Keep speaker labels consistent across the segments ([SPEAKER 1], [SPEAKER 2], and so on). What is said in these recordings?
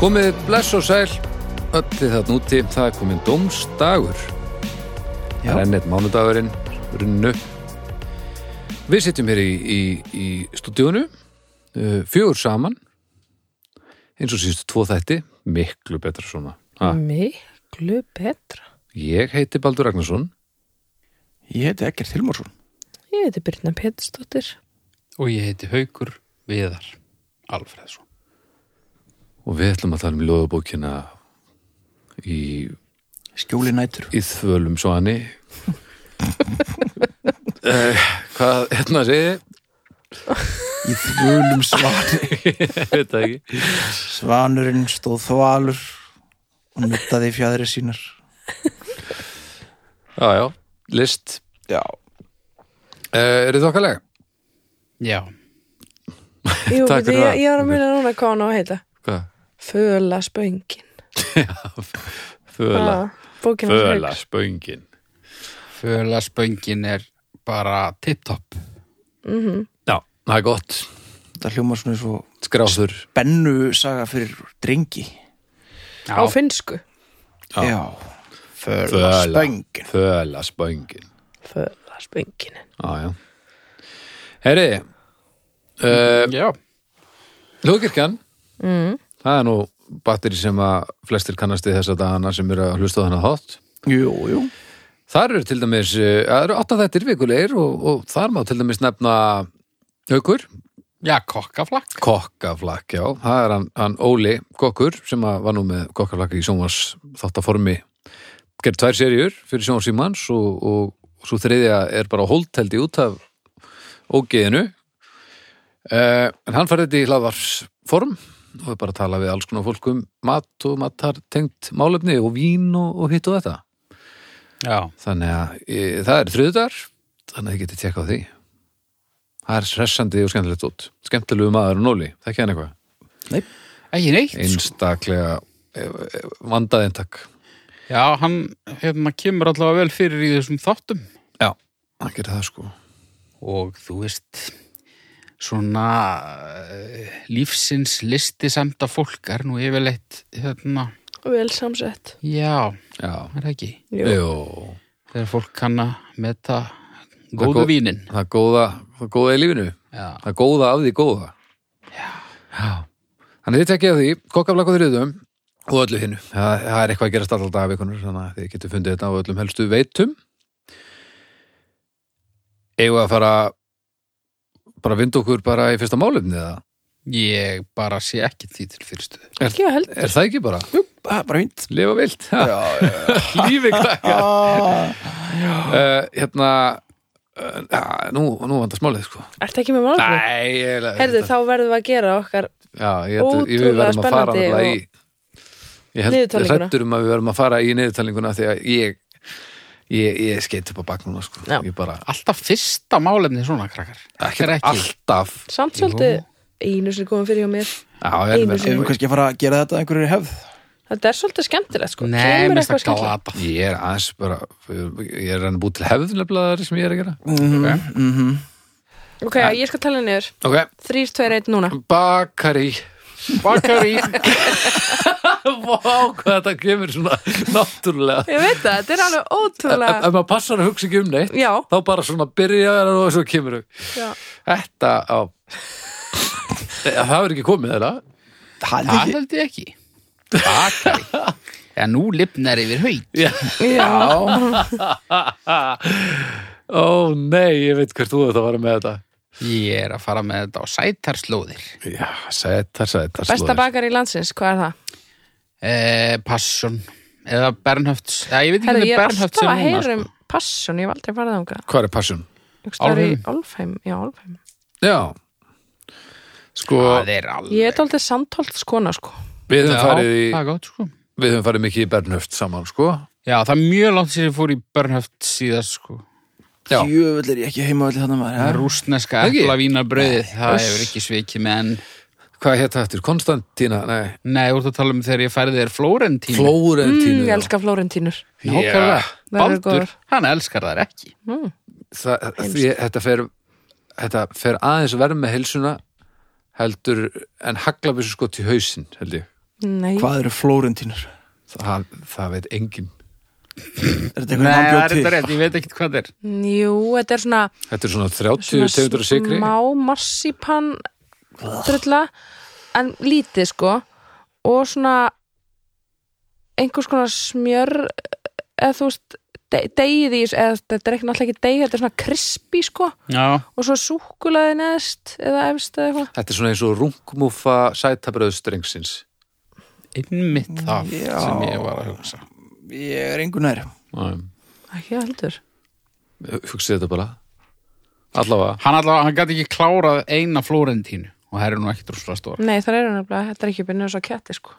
[SPEAKER 1] Komið bless og sæl öllu þarna úti, það er komin dómsdagur
[SPEAKER 2] Já.
[SPEAKER 1] Það er ennett mánudagurinn runnu Við sittum hér í, í, í stúdíunu uh, fjögur saman eins og síðustu tvo þætti miklu betra svona
[SPEAKER 3] Mm.
[SPEAKER 1] ha,
[SPEAKER 4] Miklu betra.
[SPEAKER 1] Ég heiti Baldur Ragnarsson
[SPEAKER 2] Ég heiti Egger Tilmarsson.
[SPEAKER 4] Ég heiti Birna Pétursdóttir.
[SPEAKER 3] og ég heiti Haukur Viðar Alfreðsson.
[SPEAKER 1] og við ætlum að tala um ljóðabókina í
[SPEAKER 2] Skjóli nætur.
[SPEAKER 1] í þvölum svo hanni uh, Hvað, hérna segið þið?
[SPEAKER 2] Í þvölum svanur.
[SPEAKER 1] Ég veit það ekki
[SPEAKER 2] Svanurinn stóð þvalur og nuttaði fjæðri sínar.
[SPEAKER 1] Já, já, list
[SPEAKER 2] Já.
[SPEAKER 1] Uh, er þið þokkalega?
[SPEAKER 3] Já,
[SPEAKER 4] Jú,
[SPEAKER 1] Takk fyrir
[SPEAKER 4] ég,
[SPEAKER 1] það.
[SPEAKER 4] ég var að muna núna hvað hann á að heita.
[SPEAKER 1] Hvað?
[SPEAKER 4] Föla spöngin.
[SPEAKER 1] Föla,
[SPEAKER 4] Ah, Bókin hans
[SPEAKER 1] föla
[SPEAKER 4] Hauks.
[SPEAKER 1] spöngin
[SPEAKER 3] föla spöngin er bara tipptopp.
[SPEAKER 1] Já, það er gott,
[SPEAKER 2] Þetta hljóma svona svo
[SPEAKER 1] skráður
[SPEAKER 2] bennu saga fyrir drengi.
[SPEAKER 4] Á finnsku.
[SPEAKER 1] Já.
[SPEAKER 2] Föla
[SPEAKER 1] Föla.
[SPEAKER 2] spöngin.
[SPEAKER 1] Föla spöngin
[SPEAKER 4] Föla spöngin.
[SPEAKER 1] Já, já Herri uh,
[SPEAKER 3] Já,
[SPEAKER 1] Ljóðkirkjan Það er nú batteri sem að flestir kannast við þessa dagana sem eru að hlusta á þennan hátt
[SPEAKER 2] Jú, jú.
[SPEAKER 1] Þar eru til dæmis, eh, það eru átta þættir vikulegir og, og þar má til dæmis nefna aukur
[SPEAKER 3] já kokkaflakk.
[SPEAKER 1] kokkaflakk, já, það er hann, hann Óli kokkur sem að var nú með kokkaflakk í sjónvars þáttaformi gerð tvær serjur fyrir sjónvars í manns og, og, og svo þriðja er bara hólt held í út af ógeðinu eh, en hann farið þetta í hlaðvarsform og er bara að tala við alls konar fólk um mat og matar tengt málefni og vín og, og hitt og þetta
[SPEAKER 3] Já,
[SPEAKER 1] þannig að e, það er þriðdagar þannig að þið getið tjekka á því það er stressandi og skemmtilegt út skemmtilegu maður og nóli, það ekki hann eitthvað
[SPEAKER 3] ekki neitt. sko.
[SPEAKER 1] einstaklega eh, eh, vandað eintak
[SPEAKER 3] Já, hann hérna, kemur allavega vel fyrir í þessum þáttum
[SPEAKER 1] já, hann gerir það sko
[SPEAKER 3] og þú veist, svona uh, lífsins listi semta fólk er nú yfirleitt, hérna,
[SPEAKER 4] Vel samsett.
[SPEAKER 3] já,
[SPEAKER 1] já,
[SPEAKER 3] er það ekki.
[SPEAKER 4] Jú.
[SPEAKER 1] Jó.
[SPEAKER 3] Þegar fólk kann að meta góðu
[SPEAKER 1] gó-
[SPEAKER 3] vínin.
[SPEAKER 1] það er góða það er góða í lífinu,
[SPEAKER 3] Já,
[SPEAKER 1] það er góða af því góða já, þannig að þið tekkið á því kokkaflakk og þriðum og öllu hinnu, það, það er eitthvað að gerast alltaf af ykkur, þannig að þið getið fundið þetta á öllum helstu veitum eigum við að fara bara vinda okkur bara í fyrsta málefni eða,
[SPEAKER 3] ég bara sé ekki því til fyrirstuð.
[SPEAKER 4] Ekki að held.
[SPEAKER 1] er það ekki bara?
[SPEAKER 2] Það er bara fint.
[SPEAKER 1] lifa vilt, ha,
[SPEAKER 2] Já, já.
[SPEAKER 1] lífi krakkar
[SPEAKER 2] Ah.
[SPEAKER 1] uh, hérna uh, já, nú, nú vandast málið sko
[SPEAKER 4] Ertu ekki með málum?
[SPEAKER 1] Nei, ég,
[SPEAKER 4] Herðu, þá verðum við að gera okkar.
[SPEAKER 1] já, ég, ég, ég, við
[SPEAKER 4] ótrúlega
[SPEAKER 1] verðum að fara
[SPEAKER 4] spennandi
[SPEAKER 1] nefnilega í
[SPEAKER 4] og-
[SPEAKER 1] ég held
[SPEAKER 4] Niðurtalninguna.
[SPEAKER 1] hrættur um að við verðum að fara í niðurtalninguna því að ég ég, ég skeit upp á bak núna sko
[SPEAKER 4] Já.
[SPEAKER 1] ég bara,
[SPEAKER 3] Alltaf fyrsta málefni svona, krakkar. Þetta
[SPEAKER 1] ekki,
[SPEAKER 3] er ekki.
[SPEAKER 1] alltaf
[SPEAKER 4] Samt svolítið einu sem komum fyrir hjá mér.
[SPEAKER 1] já, ég,
[SPEAKER 4] Einu
[SPEAKER 2] Ef við
[SPEAKER 1] verðum,
[SPEAKER 2] kannski að fara að gera þetta að einhverju hefð.
[SPEAKER 4] Þetta er svolítið skemmtilegt, sko.
[SPEAKER 3] Nei,
[SPEAKER 4] Kemur eitthvað
[SPEAKER 3] mér finnst það
[SPEAKER 4] skemmtilegt.
[SPEAKER 3] glata.
[SPEAKER 1] ég er aðeins bara ég er hann búið til hefð nefnilega þar sem ég er að gera
[SPEAKER 3] Mm.
[SPEAKER 4] Ok, ég skal tala niður.
[SPEAKER 1] ok,
[SPEAKER 4] Þrýr, tveir, einn núna.
[SPEAKER 1] bakari
[SPEAKER 3] Bakari.
[SPEAKER 1] vá, hvað þetta kemur svona náttúrulega
[SPEAKER 4] Ég veit það, þetta er alveg
[SPEAKER 1] ef,
[SPEAKER 4] ótrúlega
[SPEAKER 1] ef maður passar að hugsa ekki um neitt
[SPEAKER 4] Já,
[SPEAKER 1] þá bara svona byrjar og svo kemur þau.
[SPEAKER 4] já.
[SPEAKER 1] þetta á Eh, það verður ekki komið þeirra
[SPEAKER 2] Það er ekki.
[SPEAKER 3] Það held ég ekki. Bakari. Já, nú lifnar yfir haug.
[SPEAKER 2] Já.
[SPEAKER 1] ó nei, ég veit hvert þú þetta var með þetta
[SPEAKER 3] Ég er að fara með þetta á sætarslóðir.
[SPEAKER 1] já, sætar, sætar
[SPEAKER 4] Besta
[SPEAKER 1] slóðir.
[SPEAKER 4] bakar í landsins, hvað er það?
[SPEAKER 3] Eh, passion. Eða Bernhöfts. Já, ég veit ekki
[SPEAKER 4] Herðu,
[SPEAKER 3] hvernig
[SPEAKER 4] ég er
[SPEAKER 3] Bernhöfts
[SPEAKER 4] alltaf
[SPEAKER 3] er
[SPEAKER 4] að
[SPEAKER 3] núna. sko.
[SPEAKER 4] heyra um passion, ég hef aldrei farið ánga
[SPEAKER 1] hvað er passion?
[SPEAKER 4] Það er í
[SPEAKER 3] Álfheim.
[SPEAKER 4] Álfheim, já, Álfheim
[SPEAKER 1] já sko,
[SPEAKER 3] sko. Það er alveg.
[SPEAKER 4] Ég er aldrei samtólt skona, sko
[SPEAKER 1] við
[SPEAKER 3] Já,
[SPEAKER 1] höfum
[SPEAKER 3] það
[SPEAKER 1] farið í
[SPEAKER 3] er gott, sko.
[SPEAKER 1] við höfum farið mikið í Bernhöft saman sko
[SPEAKER 3] Já, það er mjög langt sér ég fór í Bernhöft síðast, sko.
[SPEAKER 1] Já.
[SPEAKER 2] Jöfull er ég ekki heima allir þannig maður. ha?
[SPEAKER 3] Rúsneska
[SPEAKER 1] Ekki?
[SPEAKER 3] eplavínabröðið, það
[SPEAKER 1] Uss.
[SPEAKER 3] hefur ekki svikið með en
[SPEAKER 1] hvað hétt það eftir? Konstantína? nei,
[SPEAKER 3] Nei, úr að tala um þegar ég færði þér Flórentínu.
[SPEAKER 1] Flórentínu
[SPEAKER 4] mm, Ég
[SPEAKER 1] já.
[SPEAKER 4] elska Flórentínur
[SPEAKER 3] Nákvæmlega.
[SPEAKER 4] Verður
[SPEAKER 3] Baldur,
[SPEAKER 4] góður.
[SPEAKER 3] hann elskar þær ekki.
[SPEAKER 1] það, því, þetta, fer, þetta fer aðeins verð með heilsuna heldur en haglabissu skot í sko, hausinn held ég
[SPEAKER 4] Nei,
[SPEAKER 2] Hvað eru flórentínur?
[SPEAKER 1] það, það veit enginn
[SPEAKER 2] Er þetta
[SPEAKER 3] Nei,
[SPEAKER 2] eitthvað hann
[SPEAKER 3] það er
[SPEAKER 2] bjóð
[SPEAKER 3] þetta
[SPEAKER 2] til?
[SPEAKER 3] rétt, ég veit ekkert hvað það er.
[SPEAKER 4] jú, þetta er svona,
[SPEAKER 1] Þetta er svona 30
[SPEAKER 4] svona
[SPEAKER 1] tegundur af sigri
[SPEAKER 4] smá massipan drulla, en lítið sko og svona einhvers konar smjör eða þú veist de- deigið í, þessu- eða þetta er ekki náttúrulega ekki deig þetta er svona krispi sko
[SPEAKER 3] Já,
[SPEAKER 4] og svo súkulaði neðst eða efst eða eitthvað
[SPEAKER 1] Þetta er svona eins og rungmúfa sætabröðstrengsins
[SPEAKER 3] einmitt það
[SPEAKER 2] Já.
[SPEAKER 3] sem ég var að hugsa.
[SPEAKER 2] Ég er engu nær.
[SPEAKER 1] Hugsið
[SPEAKER 4] ekki heldur
[SPEAKER 1] þetta bara Allavega
[SPEAKER 3] Hann allavega, hann gæti ekki klárað eina Flórentínu og það eru nú ekkert rúslega stóra.
[SPEAKER 4] nei það eru nefnilega, þetta er ekki byrjun þess að ketti sko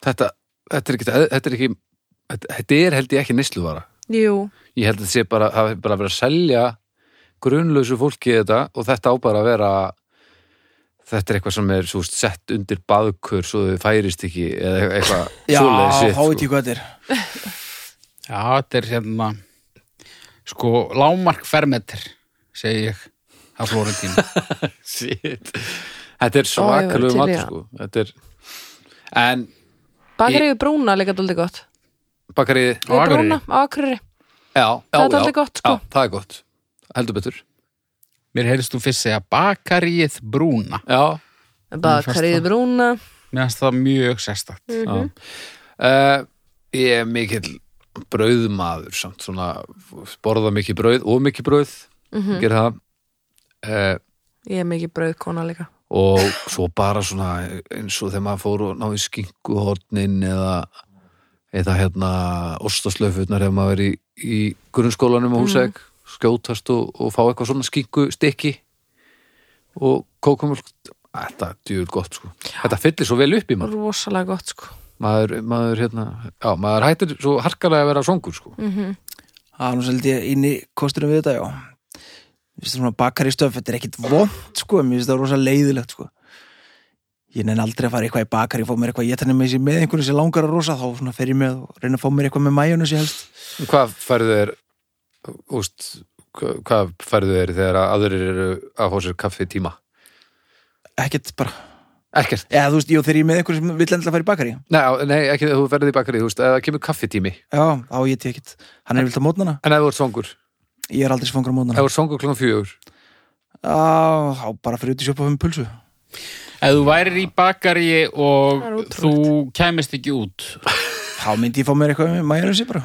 [SPEAKER 1] Þetta, þetta er ekki, þetta er ekki þetta, þetta er held ég ekki neysluvara
[SPEAKER 4] jú,
[SPEAKER 1] Ég held að þetta sé bara, hafi bara verið að selja grunlausu fólki þetta og þetta á bara að vera þetta er eitthvað sem er svo, veist, sett undir baðkur svo þau færist ekki eða eitthvað
[SPEAKER 2] Já,
[SPEAKER 1] svoleiðis shit,
[SPEAKER 2] þá veit
[SPEAKER 1] sko.
[SPEAKER 2] ég hvað þetta er.
[SPEAKER 4] Mm.
[SPEAKER 3] Já, þetta er hérna, sko, lámark fermetr, segi ég, að Flórentínu.
[SPEAKER 1] Shit. Þetta er
[SPEAKER 4] Ó, ég
[SPEAKER 1] svakalegu
[SPEAKER 4] var til í
[SPEAKER 1] matur
[SPEAKER 4] það.
[SPEAKER 1] sko. Þetta er En
[SPEAKER 4] bakarið við brúna er líka dóldi gott
[SPEAKER 1] bakarið
[SPEAKER 3] Á
[SPEAKER 4] við
[SPEAKER 3] Akureyri?
[SPEAKER 4] brúna á akurri
[SPEAKER 1] já,
[SPEAKER 4] Það er
[SPEAKER 1] já, já,
[SPEAKER 4] dálítið gott, sko.
[SPEAKER 1] já, Það er gott, heldur betur
[SPEAKER 3] Mér heyrðist þú fyrst segja bakaríið brúna.
[SPEAKER 1] Já,
[SPEAKER 4] bakarið við brúna
[SPEAKER 3] Mér finnst það mjög sérstakt.
[SPEAKER 4] Mhm.
[SPEAKER 1] já. Uh, Ég er mikill brauðmaður samt svona borða mikið brauð og mikið brauð mm
[SPEAKER 4] Mhm.
[SPEAKER 1] gera það uh,
[SPEAKER 4] ég er mikið brauðkona líka
[SPEAKER 1] og svo bara svona eins og þegar maður fór og náði skinkuhornin eða eða hérna ostaslöfurnar ef maður verið í, í grunnskólanum og húsæk skjótast og, og fá eitthvað svona skinku stikki og kókumölk þetta er djúl gott sko þetta fyllir svo vel upp í mann
[SPEAKER 4] rosalega gott sko
[SPEAKER 1] maður, maður, hérna, já, maður hættir svo harkalega að vera songur sko.
[SPEAKER 4] Mhm.
[SPEAKER 2] Það er nú svolítið inn í kostunum við þetta, já. Mér finnst það svona bakari stöf, þetta er ekkit vond, sko, en mér finnst það rosa leiðilegt, sko. Ég nenn aldrei að fara eitthvað í bakari, fá mér eitthvað ég tannig með sér með einhverju sem langar að rosa, þá svona fer ég með og reyna að fá mér eitthvað með majónu sér helst.
[SPEAKER 1] hvað færðu þér úst, hva- hvað færðu þér þegar að aðrir eru að fá sér kaffi tíma
[SPEAKER 2] Ekkert bara,
[SPEAKER 1] ekkert,
[SPEAKER 2] eða þú veist, jú, þegar ég er með einhverju sem vill endilega fara í bakari,
[SPEAKER 1] nei, á- nei ekki þegar þú ferði í bakari, þú veist, eða kemur kaffi tími
[SPEAKER 2] já, þá ég tek ekkert. Hann er vilt á mótnana,
[SPEAKER 1] en ef þú ert songur,
[SPEAKER 2] ég er aldrei svangur á
[SPEAKER 1] ef
[SPEAKER 2] mótnana.
[SPEAKER 1] þú ert songur klokkan fjögur
[SPEAKER 2] Á, þá bara fyrir út í sjópa um pulsu.
[SPEAKER 3] Ef þú værir í bakaríi og
[SPEAKER 4] Það er ótrúlegt.
[SPEAKER 3] þú kæmist ekki út,
[SPEAKER 2] Þá myndi ég fá mér eitthvað með majónu bara.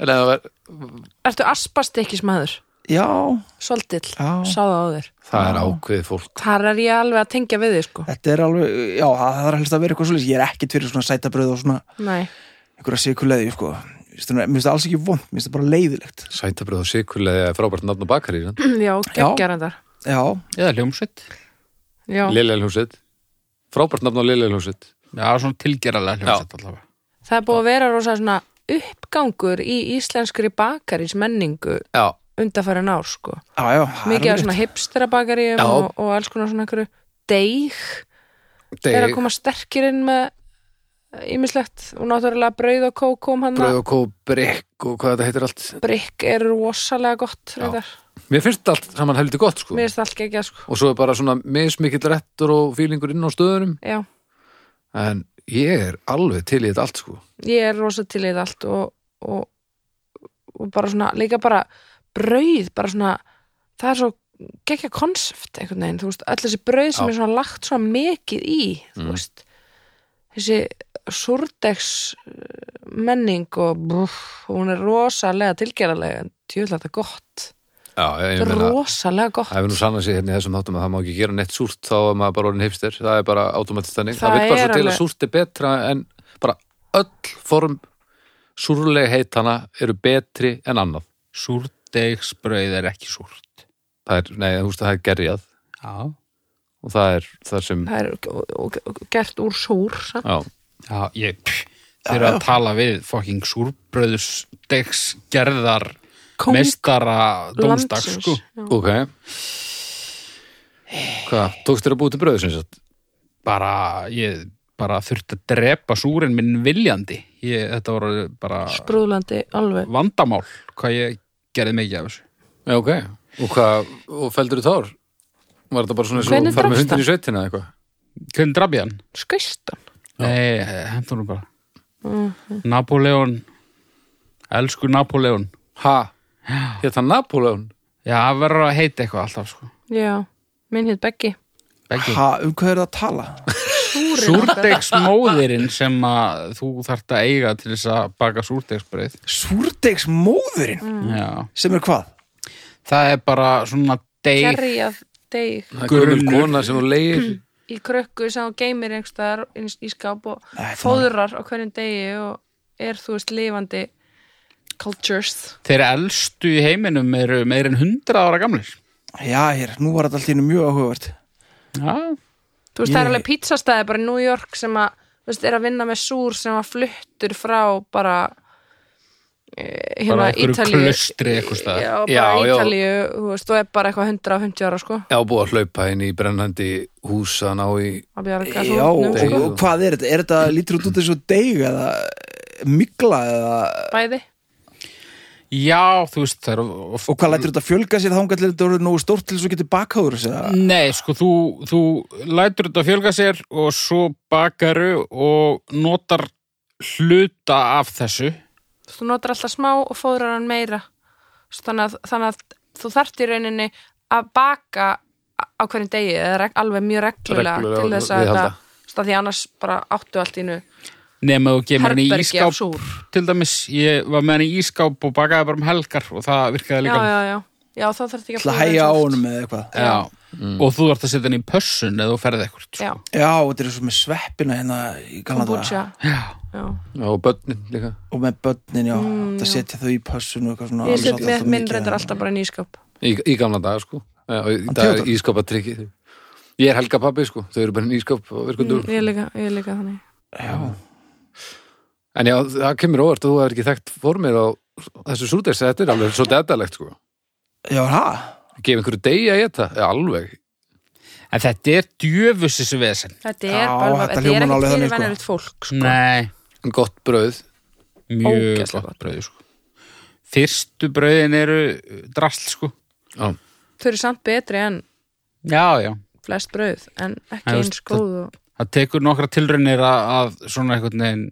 [SPEAKER 1] en ef það er,
[SPEAKER 4] ertu aspastykkis maður?
[SPEAKER 2] Já,
[SPEAKER 4] Svolítill,
[SPEAKER 2] Já.
[SPEAKER 4] sá það á þér
[SPEAKER 1] það er ákveðið fólk
[SPEAKER 4] þar er ég alveg að tengja við þig sko
[SPEAKER 2] þetta er alveg, já, það það þarf helst að vera eitthvað svolítið. Ég er ekkert fyrir svona sætabröð og svona
[SPEAKER 4] nei,
[SPEAKER 2] einhverja sikuleði sko. Mér finnst það- mér finnst það alls ekki vond, mér finnst það bara leiðilegt
[SPEAKER 1] sætabröð og sikurlega er frábært nafn á bakari
[SPEAKER 4] já, geggjarendar
[SPEAKER 2] já,
[SPEAKER 3] eða hljómsveit,
[SPEAKER 4] já,
[SPEAKER 1] liðleilhúsið, frábært nafn á liðleilhúsið
[SPEAKER 3] já, svona tilgerðarlega hljómsveit allavega.
[SPEAKER 4] það er búið að vera rosa svona uppgangur í íslenskri bakarís menningu
[SPEAKER 1] já,
[SPEAKER 4] undarfærin ár sko
[SPEAKER 2] já, já það er
[SPEAKER 4] mikið af
[SPEAKER 2] alveg
[SPEAKER 4] svona
[SPEAKER 2] rétt.
[SPEAKER 4] hipsterabakaríum
[SPEAKER 1] Já.
[SPEAKER 4] og, og alls konar svona einhverju deig er að
[SPEAKER 1] deg,
[SPEAKER 4] koma sterkir inn með ímislegt og náttúrulega brauð og kók kom hann
[SPEAKER 1] brauð og kóp, brekk og hvað þetta heitir allt
[SPEAKER 4] brygg er rosalega gott
[SPEAKER 1] Já.
[SPEAKER 4] reyndar.
[SPEAKER 1] mér finnst allt saman heldur gott sko
[SPEAKER 4] mér finnst allt geggjað sko
[SPEAKER 1] og svo er bara svona mismikill rettur og fílingur inn á stöðunum
[SPEAKER 4] já
[SPEAKER 1] en ég er alveg til í þetta allt sko
[SPEAKER 4] ég er rosa til í þetta allt og, og, og bara svona líka bara brauð bara svona, það er svo gekkja konsept einhvern veginn, þú veist, öll þessi brauð sem
[SPEAKER 1] Já.
[SPEAKER 4] er svona lagt svona mikið í þú
[SPEAKER 1] Mm.
[SPEAKER 4] veist, þessi surdegs menning og brúf, hún er rosalega tilgerðarlega, en tjóðlega þetta er gott
[SPEAKER 1] já, ég
[SPEAKER 4] þetta er
[SPEAKER 1] meina,
[SPEAKER 4] rosalega gott
[SPEAKER 1] það hefur nú sannað sér hérna í þessum þáttum að það má ekki gera neitt súrt þá er maður bara orðin hipster, það er bara automatist þannig, það,
[SPEAKER 4] Það
[SPEAKER 1] vil bara
[SPEAKER 4] er
[SPEAKER 1] svo til að
[SPEAKER 4] alveg-
[SPEAKER 1] súrt er betra en bara öll form súrlega heitana eru betri en annað
[SPEAKER 3] Súrdegsbrauð er ekki súrt.
[SPEAKER 1] það er, nei, þú veist það er gerjað
[SPEAKER 3] Já.
[SPEAKER 1] og það er það sem,
[SPEAKER 4] það er og, og, og, gert úr súr samt.
[SPEAKER 1] já,
[SPEAKER 3] Já, ég fyrir að tala við fokking súrbröðusdegsgerðar
[SPEAKER 4] Kóng
[SPEAKER 3] mestara dómstags,
[SPEAKER 4] landsins.
[SPEAKER 3] sko.
[SPEAKER 4] Já.
[SPEAKER 1] ok hvað, tókst þér að búið til bröðu sem sagt?
[SPEAKER 3] Bara, ég bara þurfti að drepa súrin minn viljandi. Ég, þetta voru bara
[SPEAKER 4] sprúðlandi alveg
[SPEAKER 3] vandamál hvað ég gerði mikið af þessu.
[SPEAKER 1] Já, ok, og hvað, og feldur þú tár? Var þetta bara svona eins og
[SPEAKER 4] Hvernig
[SPEAKER 1] fara með
[SPEAKER 4] drakst
[SPEAKER 1] hundin í sveitina eða eitthvað?
[SPEAKER 3] Hvernig draf ég hann?
[SPEAKER 4] skaustan
[SPEAKER 3] Nei, hendur hún bara Napoleon Elsku Napoleon
[SPEAKER 1] Ha, hétt hann Napoleon?
[SPEAKER 3] Já, það verður að heita eitthvað alltaf sko.
[SPEAKER 4] Já, minn hitt Beggi
[SPEAKER 3] Beggi.
[SPEAKER 2] ha, um hvað er það að tala?
[SPEAKER 3] Súrdegsmóðirinn sem að þú þarft að eiga til þess að baka súrdegsbreið
[SPEAKER 2] Súrdegsmóðurinn
[SPEAKER 4] Mm.
[SPEAKER 3] Já.
[SPEAKER 2] sem er hvað?
[SPEAKER 3] Það er bara svona deg
[SPEAKER 4] Kerri að deg
[SPEAKER 1] Það er gömul
[SPEAKER 3] Grunnur.
[SPEAKER 1] kona sem hún leir
[SPEAKER 4] í krökku sem hún geymir einhverstaðar í, í skáp og
[SPEAKER 2] Þetta-
[SPEAKER 4] fóðurar á hverjum degi og er þú veist lifandi cultures
[SPEAKER 3] Þeir elstu í heiminum eru meir en 100 ára gamlir
[SPEAKER 2] Já, hér, nú var þetta allt í einu mjög áhugavert
[SPEAKER 3] Já,
[SPEAKER 4] Þú veist, það er
[SPEAKER 2] Ég-
[SPEAKER 4] alveg pizzastæði bara í New York sem að, þú veist, er að vinna með súr sem að fluttur frá bara eh, hérna
[SPEAKER 3] Bara einhverju
[SPEAKER 4] Ítalíu
[SPEAKER 3] klaustri einhvers staðar.
[SPEAKER 4] Já,
[SPEAKER 1] Já,
[SPEAKER 4] bara
[SPEAKER 1] já.
[SPEAKER 4] Ítalíu, þú veist, þú er bara eitthvað 150 ára, sko,
[SPEAKER 1] Já, búið að hlaupa inn í brennandi hús að ná í
[SPEAKER 4] að bjarga
[SPEAKER 2] Já, og,
[SPEAKER 1] Degi.
[SPEAKER 4] sko,
[SPEAKER 2] og hvað er þetta? Er þetta lítur út út eins og deig eða mikla eða
[SPEAKER 4] bæði
[SPEAKER 3] Já, þú veist, það eru
[SPEAKER 2] og hvað lætur þetta fjölga sér þángat til þetta voru nógu stórt til þess að geta bakáður þessi
[SPEAKER 3] Nei, sko, þú, þú lætur þetta fjölga sér og svo bakaru og notar hluta af þessu
[SPEAKER 4] Þú veist, þú notar alltaf smá og fóðrar hann meira Þú veist, þannig að, þannig að þú þarft í rauninni að baka á hverjum degi eða reg, alveg mjög reglulega,
[SPEAKER 1] Reglulega
[SPEAKER 4] til þess að
[SPEAKER 1] viðhalda.
[SPEAKER 4] þetta þú veist, að því annars bara áttu allt í nu
[SPEAKER 3] nema þú gemur henni í
[SPEAKER 4] herbergi af
[SPEAKER 3] ískáp
[SPEAKER 4] súr
[SPEAKER 3] til dæmis, ég var með henni í ískáp og bakaði bara um helgar og það virkaði
[SPEAKER 4] já,
[SPEAKER 3] líka
[SPEAKER 4] já, já, já, þá þarf
[SPEAKER 2] til að
[SPEAKER 4] ekki að fóðra
[SPEAKER 2] hæja á
[SPEAKER 4] eins oft.
[SPEAKER 2] honum eða eitthvað
[SPEAKER 3] Já. Mm. og þú þarft að setja henni í pössun eða þú ferði ekkert sko.
[SPEAKER 4] já,
[SPEAKER 2] Já, þetta er svo með sveppina hérna í Kanada
[SPEAKER 4] kombucha
[SPEAKER 3] Já.
[SPEAKER 4] já.
[SPEAKER 1] Já, og börnin líka
[SPEAKER 2] og með börnin, já, það setja þau í pössun og eitthvað svona
[SPEAKER 4] Mm, ég
[SPEAKER 2] alls
[SPEAKER 4] set
[SPEAKER 2] alltaf
[SPEAKER 4] með
[SPEAKER 2] mikið
[SPEAKER 4] minn reyndar
[SPEAKER 2] hérna.
[SPEAKER 4] alltaf bara í nýskap
[SPEAKER 1] í, í gamla daga, sko Já, og í dag
[SPEAKER 2] Theodór.
[SPEAKER 1] er ískapatrykki Ég er helga pappi, sko, þau eru bara inn í ískap og virkundur
[SPEAKER 3] Mm,
[SPEAKER 4] Mm, ég er líka, ég er líka þannig
[SPEAKER 1] En já, það kemur óvart að þú hefur ekki þekkt formið á þessu súrdegs þetta er alveg svo dedalegt sko
[SPEAKER 2] Já, hæ?
[SPEAKER 1] gefa einhverju degi að geta, já, alveg
[SPEAKER 3] en þetta er djöfusis vesen
[SPEAKER 4] þetta
[SPEAKER 2] Já,
[SPEAKER 4] er bara,
[SPEAKER 2] þetta
[SPEAKER 4] þetta
[SPEAKER 2] hljómar
[SPEAKER 4] er
[SPEAKER 2] alveg þannig,
[SPEAKER 4] ekkert fyrir
[SPEAKER 2] sko.
[SPEAKER 4] venjulegt fólk sko.
[SPEAKER 3] Nei,
[SPEAKER 1] gott brauð
[SPEAKER 3] mjög
[SPEAKER 4] Ógeðslega
[SPEAKER 3] gott brauð sko. fyrstu brauðin eru uh, drasl sko.
[SPEAKER 1] já.
[SPEAKER 4] þau eru samt betri en
[SPEAKER 3] já, já
[SPEAKER 4] flest brauð en ekki
[SPEAKER 3] þú veist,
[SPEAKER 4] eins góð og
[SPEAKER 3] það tekur nokkra tilraunir að, að svona einhvern veginn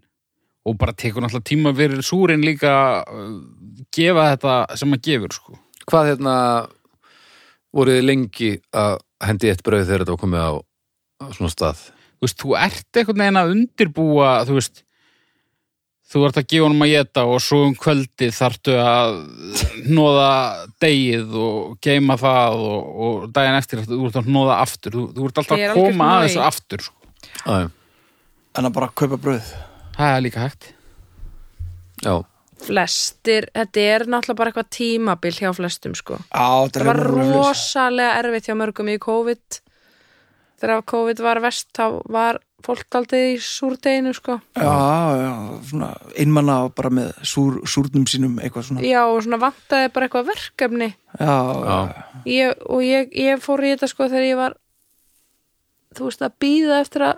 [SPEAKER 3] og bara tekur náttúrulega tíma fyrir súrin líka að uh, gefa þetta sem að gefur sko.
[SPEAKER 1] Hvað hérna voruð þið lengi að hendi eitt brauð þegar þetta var komið á, á svona stað?
[SPEAKER 3] þú veist, þú ert einhvern veginn að undirbúa þú veist þú ert að gefa honum að geta og svo um kvöldi þarftu að nóða degið og geima það og, og daginn eftir þú ert að nóða aftur, þú, þú ert alltaf
[SPEAKER 4] Ég er
[SPEAKER 3] að koma
[SPEAKER 4] algjört
[SPEAKER 3] að
[SPEAKER 4] nei.
[SPEAKER 3] þessu aftur sko.
[SPEAKER 1] Æ,
[SPEAKER 2] En að bara kaupa bröð
[SPEAKER 3] það er líka hægt
[SPEAKER 1] já,
[SPEAKER 4] flestir, þetta er náttúrulega bara eitthvað tímabil hjá flestum sko.
[SPEAKER 2] Á, þetta
[SPEAKER 4] það
[SPEAKER 2] er
[SPEAKER 4] var
[SPEAKER 2] rúmurlega
[SPEAKER 4] rosalega erfitt hjá mörgum í COVID þegar COVID var vest þá var fólk aldrei í súrdeginu sko.
[SPEAKER 2] Já, já, svona einmanna og bara með súr, súrnum sínum eitthvað svona Já,
[SPEAKER 4] já og svona vantaði bara eitthvað verkefni
[SPEAKER 1] já,
[SPEAKER 2] já,
[SPEAKER 4] ég, og ég, ég fór í þetta sko þegar ég var þú veist að býða eftir að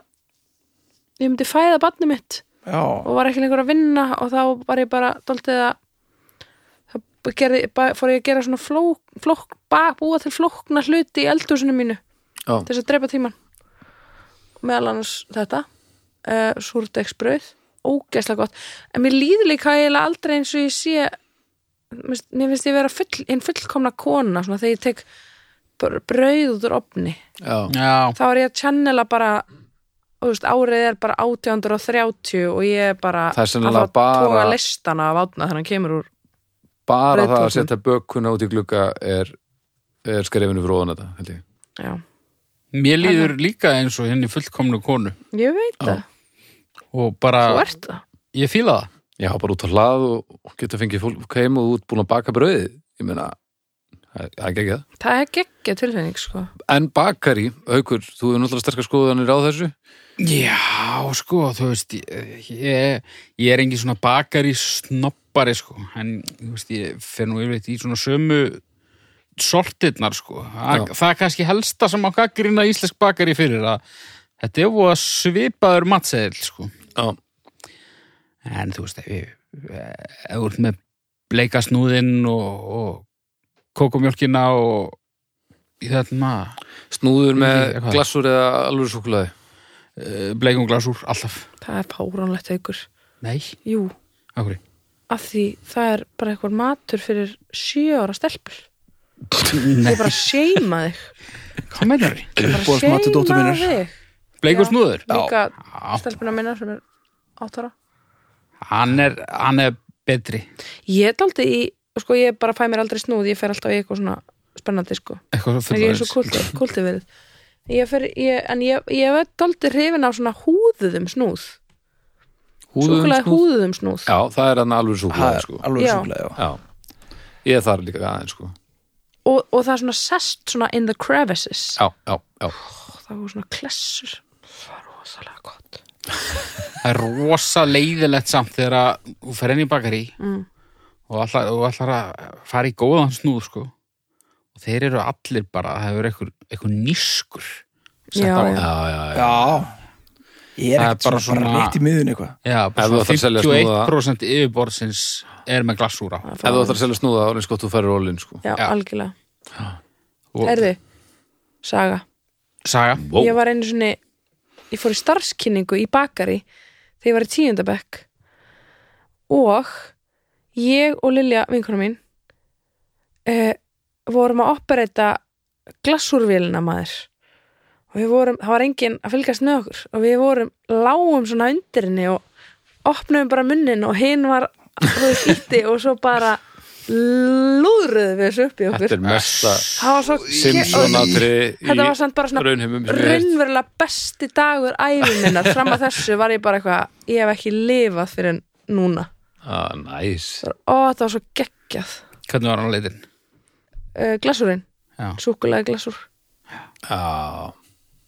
[SPEAKER 4] ég myndi fæða barni mitt og var ekki lengur að vinna og þá var ég bara daldið að þá gerði, ba- fór ég að gera svona flók, flók, ba, búa til flókna hluti í eldhúsinu mínu
[SPEAKER 1] já,
[SPEAKER 4] til þess að dreipa tíman meðal annars þetta uh, súrdegsbrauð, ógeðslega gott en mér líður líka eiginlega aldrei eins og ég sé mér finnst- mér finnst ég vera full, einn fullkomna kona svona þegar ég tek bara brauð út úr opni
[SPEAKER 1] já,
[SPEAKER 3] já,
[SPEAKER 4] þá er ég að channela bara þú veist, árið er bara 1830 og ég er bara
[SPEAKER 1] Það er sennilega
[SPEAKER 4] að fá að toga
[SPEAKER 1] bara-
[SPEAKER 4] listana af átna þegar hann kemur úr
[SPEAKER 1] Bara það að
[SPEAKER 4] Brauðtollum.
[SPEAKER 1] setja bökuna út í glugga er, er skrefinu fyrir ofan þetta, held ég.
[SPEAKER 4] já,
[SPEAKER 3] mér líður líka eins og henni fullkomnu konu
[SPEAKER 4] ég veit það,
[SPEAKER 3] og bara,
[SPEAKER 4] þú ert það
[SPEAKER 3] ég fíla það
[SPEAKER 1] Já, bara út á hlað og og geta fengið fólk heim og út búin að baka brauðið. Ég meina, það það er ekki það.
[SPEAKER 4] það er geggja tilfinning sko
[SPEAKER 1] En bakari, haukur, þú hefur náttúrulega sterkar skoðanir á þessu.
[SPEAKER 3] Já, sko, þú veist, ég, ég, ég er engin svona bakari snoppari, sko, en þú veist, ég fer nú yfirleitt í svona sömu sortirnar, sko. Þa,
[SPEAKER 1] Já.
[SPEAKER 3] það er kannski helsta sem á gaggrina íslensk bakari fyrir að þetta er voða svipaður matseðil, sko.
[SPEAKER 1] Já,
[SPEAKER 3] En þú veist, ef ég- ef þú ert með bleika snúðinn og, og kókumjólkina og í þarna,
[SPEAKER 1] snúður með
[SPEAKER 3] Eitthvað.
[SPEAKER 1] glassur eða alveg súkulaði.
[SPEAKER 3] uh, bleikum glasúr alltaf
[SPEAKER 4] það er fáránlegt haukur
[SPEAKER 3] Nei,
[SPEAKER 4] jú,
[SPEAKER 3] okkur
[SPEAKER 4] af því það er bara eitthvað matur fyrir sjö ára stelpur ég er bara að seima þig
[SPEAKER 3] Hvað meinar þið?
[SPEAKER 4] Ég er bara að
[SPEAKER 2] Uppáhaldsmatur dóttur
[SPEAKER 4] seima
[SPEAKER 2] minnar.
[SPEAKER 4] þig
[SPEAKER 3] Bleikur
[SPEAKER 4] Já.
[SPEAKER 3] snúður?
[SPEAKER 4] líka
[SPEAKER 3] Já.
[SPEAKER 4] stelpuna minna sem er áttara
[SPEAKER 3] Hann er, hann er betri
[SPEAKER 4] ég er aldrei í, sko ég bara fæ mér aldrei snúð ég fer alltaf í eitthvað svona spennandi sko
[SPEAKER 3] Eitthvað
[SPEAKER 4] en ég er
[SPEAKER 3] fullorðins.
[SPEAKER 4] svo kulti, kulti verið ég fer, ég, en ég, ég er aldrei hrifin af svona húðuðum snúð
[SPEAKER 1] Húðum
[SPEAKER 4] súkulega
[SPEAKER 1] snúð.
[SPEAKER 4] húðuðum snúð
[SPEAKER 1] Já, það er hann alveg
[SPEAKER 2] það
[SPEAKER 1] súkulega
[SPEAKER 2] er
[SPEAKER 1] sko.
[SPEAKER 2] alveg
[SPEAKER 4] Já.
[SPEAKER 2] súkulega, já
[SPEAKER 1] Já, ég þarf líka aðeins sko.
[SPEAKER 4] og, og það er svona sest svona in the crevices
[SPEAKER 1] Já, já, já
[SPEAKER 4] og það voru svona klessur það var rosalega gott
[SPEAKER 3] Það er rosa leiðilegt samt þegar að þú fer inn í bakari
[SPEAKER 4] Mm.
[SPEAKER 3] og allar, þú ætlar að fara í góðan snúð sko. og þeir eru allir bara það hefur eitthvað, eitthvað nýskur sett
[SPEAKER 4] Já,
[SPEAKER 3] á
[SPEAKER 4] já.
[SPEAKER 3] það.
[SPEAKER 1] Já, já, já,
[SPEAKER 2] Já, ég er
[SPEAKER 3] Það er
[SPEAKER 2] ekkert
[SPEAKER 3] bara
[SPEAKER 2] svona, svona
[SPEAKER 3] svona-
[SPEAKER 2] bara rétt í miðun eitthvað
[SPEAKER 3] Já, bara
[SPEAKER 1] Ef þú ætlar að
[SPEAKER 3] svona
[SPEAKER 1] selja snúða-
[SPEAKER 3] 51% yfirborðsins er með glassúra
[SPEAKER 4] Það
[SPEAKER 1] Ef þú ætlar
[SPEAKER 4] var-
[SPEAKER 1] að selja snúða, orðins gott þú færir ólinn sko.
[SPEAKER 4] já,
[SPEAKER 3] Já.
[SPEAKER 4] algjörlega,
[SPEAKER 3] og
[SPEAKER 4] herðu saga,
[SPEAKER 3] Saga,
[SPEAKER 1] Vó,
[SPEAKER 4] ég var einu svona ég fór í starfskynningu í bakari þegar ég var í tíundabekk og ég og Lilja, vinkona mín uh, vorum að opereta glassúrvélina maður og við vorum, það var enginn að fylgast með okkur og við vorum lágum svona undir henni og opnum bara munnin og hinn var rúið ítti og svo bara lúðruðu við þessu upp í okkur
[SPEAKER 1] þetta er mesta
[SPEAKER 4] það var svo
[SPEAKER 1] Simpson átri í
[SPEAKER 4] þetta var samt bara svona
[SPEAKER 1] raunheimum sem ég heilt
[SPEAKER 4] raunverulega besti dagur æfinina fram að þessu var ég bara eitthvað ég hef ekki lifað fyrir en núna
[SPEAKER 1] ah, Næs,
[SPEAKER 4] Það var- ó, þetta var svo geggjað
[SPEAKER 3] hvernig var hann leitin?
[SPEAKER 4] uh, glasurinn,
[SPEAKER 3] Já.
[SPEAKER 4] súkulega glasur
[SPEAKER 1] já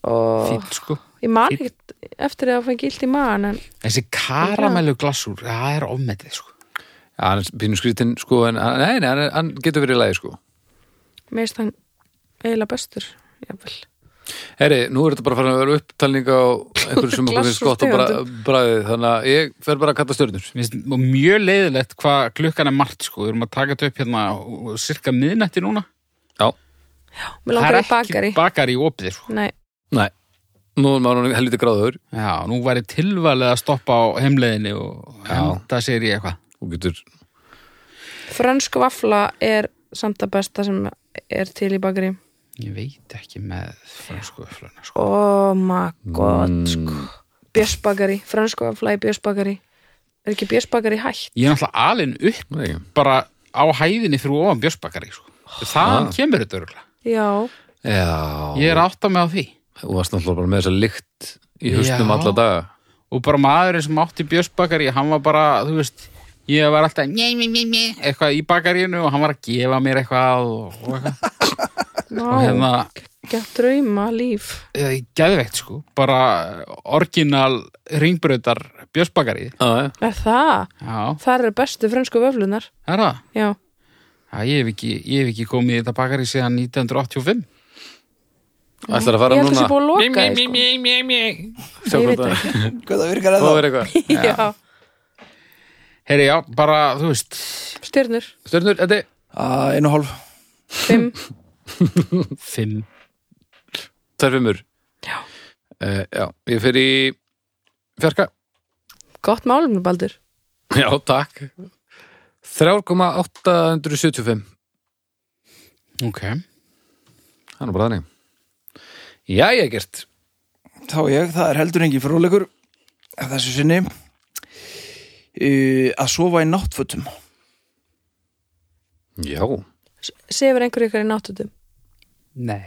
[SPEAKER 4] og
[SPEAKER 3] Fýtt sko
[SPEAKER 4] ég man
[SPEAKER 3] fínn.
[SPEAKER 4] ekkert eftir því að það fengi illt í maðan en
[SPEAKER 3] Þessi karamellu glassúr, það er ofmetið sko
[SPEAKER 1] Já, hann er pínu skrítin sko en hann- nei, nei, hann, er- hann getur verið í lagi sko
[SPEAKER 4] mér finnst hann eiginlega bestur jafnvel
[SPEAKER 1] Herri, nú er þetta bara farin að vera upptalning á einhverju sem okkur finnst gott og bara bræðið þannig að ég fer bara að kalla stjörnur
[SPEAKER 3] Mér finnst Mjög leiðilegt hvað klukkan er margt sko, við erum að taka þetta upp hérna og- og cirka miðnætti núna
[SPEAKER 1] Já,
[SPEAKER 4] mér
[SPEAKER 3] Það er
[SPEAKER 4] langar í
[SPEAKER 3] ekki
[SPEAKER 4] bakari
[SPEAKER 3] bakari opið sko.
[SPEAKER 4] Nei,
[SPEAKER 1] nei, nú er maður orðinn helviti gráður
[SPEAKER 3] Já, nú væri tilvalið að stoppa á heimleiðinni og henda sér í eitthvað
[SPEAKER 1] og getur,
[SPEAKER 4] frönsku vafla er samt að besta sem er til í bakari
[SPEAKER 3] Ég veit ekki með fransku öfluna sko.
[SPEAKER 4] oh my god
[SPEAKER 3] Mm.
[SPEAKER 4] sko. björsbakari, frönsku vafla í björsbakari er ekki björsbakari hætt
[SPEAKER 3] Ég er náttúrulega alin upp
[SPEAKER 1] nei,
[SPEAKER 3] bara á hæðinni fyrir ofan björsbakari sko. Þaðan kemur þetta örgulega
[SPEAKER 4] já,
[SPEAKER 1] já
[SPEAKER 3] Ég er að átta mig á því
[SPEAKER 1] og varst náttúrulega bara með þessa lykt í haustum
[SPEAKER 3] Já.
[SPEAKER 1] alla daga
[SPEAKER 3] Og bara maðurinn sem átti björsbakari hann var bara, þú veist Ég var alltaf njæ, njæ, njæ, njæ, eitthvað í bakaríinu og hann var að gefa mér eitthvað og, og eitthvað.
[SPEAKER 4] Vá,
[SPEAKER 3] Og hérna,
[SPEAKER 4] geggja drauma líf
[SPEAKER 3] ég geðveikt sko, bara orginal ringbrautar björsbakari.
[SPEAKER 1] Já, já.
[SPEAKER 4] Er það?
[SPEAKER 3] Já,
[SPEAKER 4] Þar eru bestu frönsku vöflunar
[SPEAKER 3] það er það.
[SPEAKER 4] Já,
[SPEAKER 3] Já, ég hef ekki, ég hef ekki komið í þetta bakari síðan 1985.
[SPEAKER 1] Ætlar að
[SPEAKER 4] ég
[SPEAKER 1] fara
[SPEAKER 4] held að
[SPEAKER 1] núna
[SPEAKER 4] sé búið að loka því sko.
[SPEAKER 1] Sjá hvort
[SPEAKER 4] Ég veit
[SPEAKER 1] það-
[SPEAKER 2] Hvað það virkar að
[SPEAKER 1] þá
[SPEAKER 2] það?
[SPEAKER 1] er eitthvað
[SPEAKER 4] Já,
[SPEAKER 3] Heyri, já, bara, þú veist,
[SPEAKER 4] stjörnur
[SPEAKER 1] Stjörnur, þetta er
[SPEAKER 2] Ah, Einu og hálf
[SPEAKER 4] Fimm,
[SPEAKER 3] fimm.
[SPEAKER 1] tvær fimmur
[SPEAKER 4] Já.
[SPEAKER 1] Eh, Já, ég fer í fjarka
[SPEAKER 4] gott málumni Baldur
[SPEAKER 1] Já, takk 3,875
[SPEAKER 3] Ok.
[SPEAKER 1] Það er nú bara þannig Jæja, gert
[SPEAKER 2] Þá ég, það er heldur engi fróðleikur að þessu sinni uh, að sofa í náttfötum
[SPEAKER 1] Já,
[SPEAKER 4] S- Sefur einhver ykkar í náttutum
[SPEAKER 3] Nei.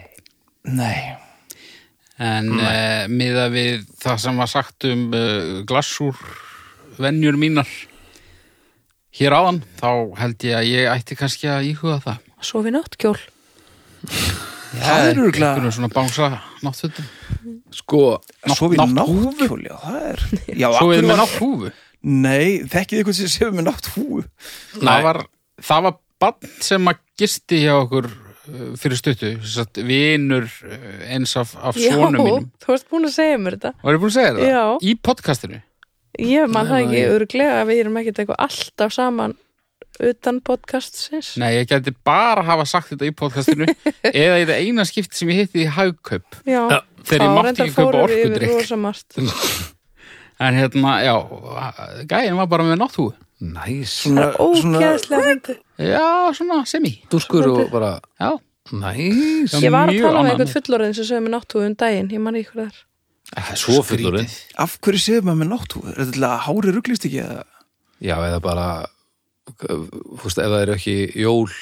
[SPEAKER 2] Nei,
[SPEAKER 3] En uh, miða við það sem var sagt um uh, glassúr venjur mínar hér áðan, þá held ég að ég ætti kannski að íhuga það.
[SPEAKER 4] Sofi náttkjól
[SPEAKER 2] það er örgulega
[SPEAKER 3] Einhvern svona bángsa náttfötum.
[SPEAKER 1] sko
[SPEAKER 2] að sofa í
[SPEAKER 3] nátthúfu?
[SPEAKER 2] náttkjóli Já, það er Já,
[SPEAKER 3] Svo við
[SPEAKER 2] akkur
[SPEAKER 3] með
[SPEAKER 2] var-
[SPEAKER 3] nátthúfu.
[SPEAKER 2] Nei, þekkið þið hvað sem sefur með nátthúfu
[SPEAKER 1] Nei.
[SPEAKER 3] Það var, það var bann sem að gisti hjá okkur uh, fyrir stuttu, þess að vinur uh, eins af, af
[SPEAKER 4] Já,
[SPEAKER 3] svonum mínum.
[SPEAKER 4] þú varst búin að segja mér þetta
[SPEAKER 3] Var ég búin að segja þér það?
[SPEAKER 4] Já.
[SPEAKER 3] Í podcastinu?
[SPEAKER 4] Ég man það
[SPEAKER 1] Nei,
[SPEAKER 4] ekki
[SPEAKER 1] nei.
[SPEAKER 4] örglega að við erum ekkert eitthvað alltaf saman utan podcastsins
[SPEAKER 3] Nei, ég gæti bara hafa sagt þetta í podcastinu eða í það eina skipti sem ég hitti í hagkaup
[SPEAKER 4] Já,
[SPEAKER 1] Já.
[SPEAKER 3] þegar ég mátti ekki kaupa orkudrykk
[SPEAKER 4] rosa margt
[SPEAKER 3] en hérna, já, gæin var bara með náttúu
[SPEAKER 1] Næs,
[SPEAKER 2] Svona,
[SPEAKER 4] Ógeðslega fyndið.
[SPEAKER 3] já, svona semi
[SPEAKER 1] dúskur og bara
[SPEAKER 3] já,
[SPEAKER 1] Næs,
[SPEAKER 4] Ég var að tala
[SPEAKER 3] mjög ánægð
[SPEAKER 4] með einhvern
[SPEAKER 3] með-
[SPEAKER 4] fullorðin sem sögði mér náttúðu um daginn, ég man ekki hvað það er
[SPEAKER 1] svo fullurinn
[SPEAKER 2] af hverju séu maður með náttúr? Er þetta til að hári rugglist ekki? eða?
[SPEAKER 1] Já, eða bara fúst, ef það eru ekki jól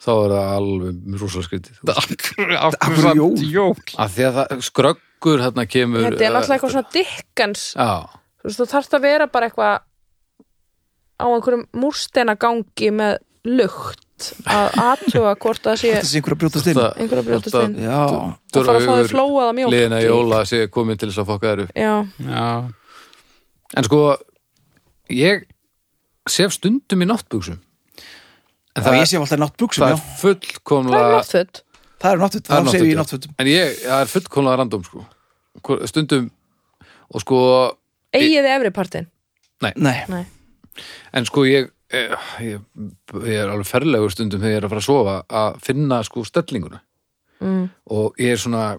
[SPEAKER 1] þá er það alveg rosalega skrítið þú veist.
[SPEAKER 2] hverju
[SPEAKER 3] akkur
[SPEAKER 2] jól?
[SPEAKER 3] jól
[SPEAKER 1] af því að það, skröggur hérna kemur
[SPEAKER 4] Þetta er náttúrulega eitthvað svona dikkans
[SPEAKER 1] Já,
[SPEAKER 4] Þú veist, þú þarft að vera bara eitthvað á einhverjum múrsteinagangi með lukt að athuga hvort það sé
[SPEAKER 2] Þetta sé einhver að brjóta stinn?
[SPEAKER 1] það-
[SPEAKER 4] einhverja brjótast
[SPEAKER 1] Þetta-
[SPEAKER 4] inn
[SPEAKER 2] Já,
[SPEAKER 4] og fara að fá þau flóaða mjólk
[SPEAKER 1] liðina
[SPEAKER 4] í-
[SPEAKER 1] jóla sé komin til þess að fokka þér upp
[SPEAKER 4] Já,
[SPEAKER 3] já,
[SPEAKER 1] En sko, ég sef stundum í náttbuksum
[SPEAKER 2] það
[SPEAKER 1] en það,
[SPEAKER 2] ég sé alltaf náttbuksum,
[SPEAKER 1] það
[SPEAKER 2] já.
[SPEAKER 1] er fullkomlega
[SPEAKER 4] það er náttföt
[SPEAKER 2] Það er náttúrt,
[SPEAKER 1] Það er
[SPEAKER 2] það séu í
[SPEAKER 1] náttföt,
[SPEAKER 2] náttúrt.
[SPEAKER 1] En ég, það er fullkomlega random sko Hvor- Stundum og sko,
[SPEAKER 4] Egiði efri partin
[SPEAKER 2] Nei,
[SPEAKER 4] Nei,
[SPEAKER 1] en sko ég eh, ég, ég er alveg ferlegur stundum þegar ég er að fara að sofa að finna sko stellinguna
[SPEAKER 4] mm.
[SPEAKER 1] og ég er svona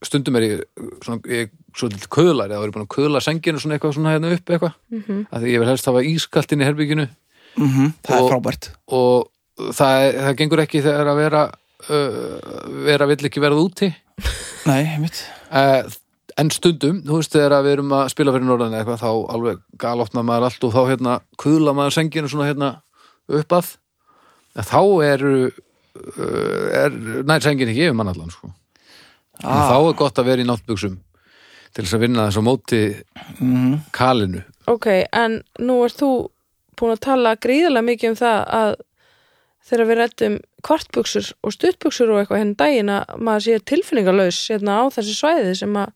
[SPEAKER 1] stundum er ég svona, ég er svolítið köðlar eða var ég búin að köðla senginu svona eitthvað svona hérna upp eitthvað mm
[SPEAKER 4] Mhm.
[SPEAKER 1] að því ég vil helst hafa ískalt inn í herbygginu
[SPEAKER 2] mhm, það
[SPEAKER 1] Og-
[SPEAKER 2] er frábært.
[SPEAKER 1] og það, það gengur ekki þegar að vera uh, vera vill ekki verða úti
[SPEAKER 2] Nei, mitt.
[SPEAKER 1] uh, en stundum, þú veist þegar að við erum að spila fyrir norðan eða eitthvað þá alveg galopna maður allt og þá hérna kuðla maður senginu svona hérna upp að en þá eru uh, er, nær sengin ekki yfir mann allan sko. ah.
[SPEAKER 2] Ah.
[SPEAKER 1] þá er gott að vera í náttbuxum til þess að vinna þess að móti
[SPEAKER 2] Mhm.
[SPEAKER 1] kalinu
[SPEAKER 4] Ok, en nú ert þú búin að tala gríðarlega mikið um það að þegar við reddum kvartbuksur og stuttbuksur og eitthvað henni daginn að maður sé tilfinningalaus hérna á þessi svæði sem að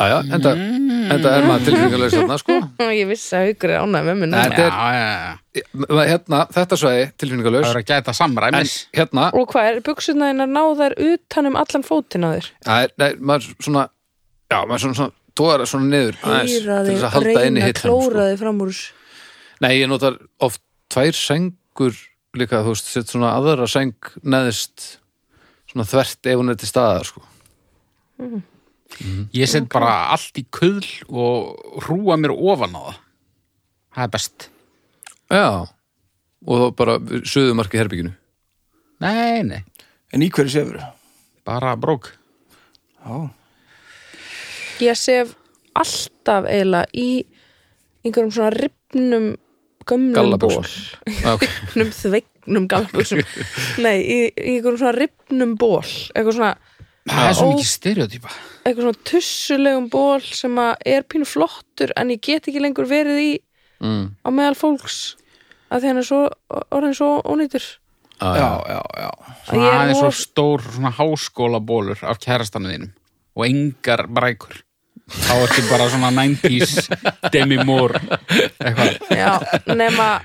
[SPEAKER 1] já, já, enda,
[SPEAKER 2] Mm.
[SPEAKER 1] enda er maður tilfinningarlega þarna sko
[SPEAKER 4] ég vissi að haukur er ánægð með mér
[SPEAKER 1] Nei,
[SPEAKER 4] núna.
[SPEAKER 1] þetta
[SPEAKER 3] já,
[SPEAKER 1] er-
[SPEAKER 3] já, já.
[SPEAKER 1] hérna, þetta svæði
[SPEAKER 3] það
[SPEAKER 1] tilfinningarlaus
[SPEAKER 3] er að gæta
[SPEAKER 1] en
[SPEAKER 3] samræmis
[SPEAKER 1] hérna
[SPEAKER 4] Og hvað er, buksunæðin að ná þær utan um allan fótinn á þér?
[SPEAKER 1] Það er, nei, maður svona já, maður svona, svona tóðar það svona niður aðeins, til
[SPEAKER 4] Heyraði,
[SPEAKER 1] þess að halda inn í
[SPEAKER 4] reyna,
[SPEAKER 1] hittan sko.
[SPEAKER 4] klóraði fram úr þessu.
[SPEAKER 1] Nei, ég notar oft tvær sengur líka, þú veist, sett svona aðra seng neðist svona þvert ef hún er til staðar sko.
[SPEAKER 3] ég set bara allt í kull og rúa mér ofan á það það er best
[SPEAKER 1] Já, og þá bara söðumarki herbygginu
[SPEAKER 3] nei, nei,
[SPEAKER 2] En í hverju séu
[SPEAKER 3] bara brók
[SPEAKER 2] Já,
[SPEAKER 4] Ég sef alltaf eiginlega í einhverjum svona ripnum gömlum
[SPEAKER 1] Gallabuxum.
[SPEAKER 4] ból.
[SPEAKER 1] Já, ok.
[SPEAKER 4] Ripnum þvegnum gallabuxum. Nei, í, í einhverjum svona ripnum ból. Eitthvað svona,
[SPEAKER 3] það er svo
[SPEAKER 4] Ó.
[SPEAKER 3] mikið stereotypa
[SPEAKER 4] eitthvað svona tussulegum ból sem að er pínu flottur en ég get ekki lengur verið í
[SPEAKER 1] mm.
[SPEAKER 4] á meðal fólks að því hann er svo, orðin svo ónýtur.
[SPEAKER 1] ah,
[SPEAKER 2] já,
[SPEAKER 1] já.
[SPEAKER 2] já, já.
[SPEAKER 3] svona
[SPEAKER 4] Ég er
[SPEAKER 3] aðeins
[SPEAKER 4] nú-
[SPEAKER 3] svo stór svona háskólabólur af kærastanu þínum og engar brækur þá ertu bara svona 90s Demi Moore eitthvað
[SPEAKER 4] Já, nema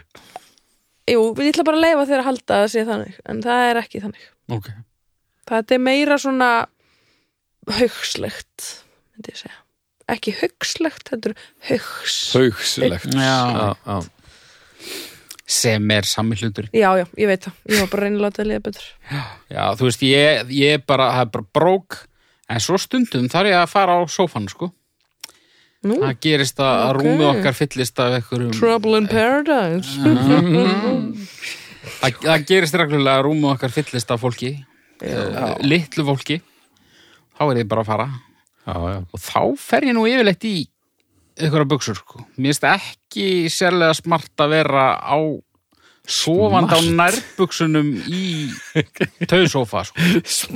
[SPEAKER 4] Jú, ég ætla bara að leifa þér að halda að það sé þannig en það er ekki þannig
[SPEAKER 3] ok
[SPEAKER 4] Það er meira svona haugslegt myndi ég segja ekki haugslegt, þetta er haugs
[SPEAKER 1] Haugslegt
[SPEAKER 3] Já.
[SPEAKER 1] Já, já.
[SPEAKER 3] sem er sami hlutur
[SPEAKER 4] Já, já, ég veit það, ég var bara að reyna að láta það liða betur
[SPEAKER 3] já, þú veist, ég, ég er bara, það er bara brók en svo stundum þarf ég að fara á sófan sko,
[SPEAKER 4] Nú,
[SPEAKER 3] það gerist að okay.
[SPEAKER 4] Ok.
[SPEAKER 3] rúmið okkar fyllist af einhverjum
[SPEAKER 4] Trouble in Paradise
[SPEAKER 3] það, það gerist reglulega að rúmið okkar fyllist af fólki uh, litlu fólki þá er ég bara að fara
[SPEAKER 1] Já, já.
[SPEAKER 3] og þá fer ég nú yfirleitt í einhverja buksur sko. mér finnst ekki sérlega smart að vera á sofand á nærbuksunum í tausofa sko.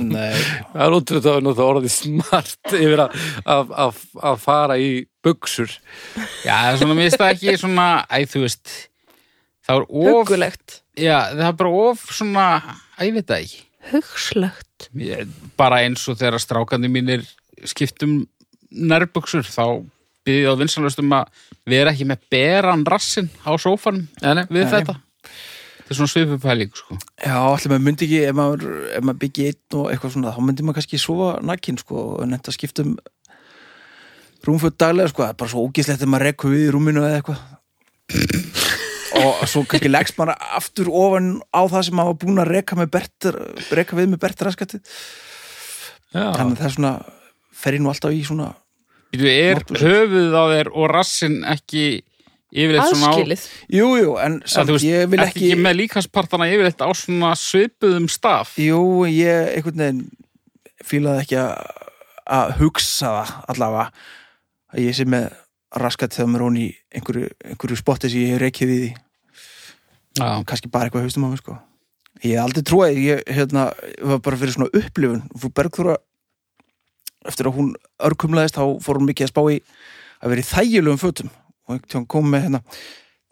[SPEAKER 2] Nei,
[SPEAKER 1] Það er útrúð að nota orðið smart yfir að, að, að, að fara í buksur
[SPEAKER 3] já, svona, mér finnst það ekki svona æ, þú veist það er of,
[SPEAKER 4] Hugulegt,
[SPEAKER 3] já, það er bara of svona, æ, ég veit það ekki
[SPEAKER 4] haugslegt
[SPEAKER 3] Ég- bara eins og þegar strákandi mínir skiptum nærbuksur þá byrðið á vinsanlust um að við erum ekki með beran rassin á sófanum
[SPEAKER 1] Nei, nei.
[SPEAKER 3] við
[SPEAKER 2] Nei.
[SPEAKER 3] þetta þetta er svona svipupæling sko.
[SPEAKER 2] já, allir maður myndi ekki ef maður, ef maður byggi einn og eitthvað svona þá myndi maður kannski sofa nakkin sko en þetta skiptum rúmföt daglega sko, það er bara svo ógislegt ef maður rekku við í rúminu eða eitthvað og svo kannski leggst maður aftur ofan á það sem maður var búin að reka, með Bert, reka við með Bertraskatti
[SPEAKER 1] Já.
[SPEAKER 2] þannig að það er svona fer ég nú alltaf í svona
[SPEAKER 3] Þú er
[SPEAKER 2] Náttúrulega.
[SPEAKER 3] höfuð á þér og rassin ekki yfirleitt svona á
[SPEAKER 4] aðskilið
[SPEAKER 2] Jú, jú, en
[SPEAKER 3] að
[SPEAKER 2] samt,
[SPEAKER 3] þú veist,
[SPEAKER 2] ég vil
[SPEAKER 3] ertu
[SPEAKER 2] ekki,
[SPEAKER 3] ekki með líkanspartana yfirleitt á svona svipuðum staf
[SPEAKER 2] Jú, ég einhvern veginn fílaði ekki að, að hugsa það allavega að ég sé með raskat þegar maður hún í einhverju, einhverju spotti sem ég hef reikið í því
[SPEAKER 3] Já,
[SPEAKER 2] kannski bara eitthvað haustum á mig sko ég hef aldrei trúið, ég hérna var bara fyrir svona upplifun, fú Bergþóra eftir að hún örkumlaðist þá fór hún mikið að spá í að vera í þægilegum fötum og einhvern tíðan kom með hérna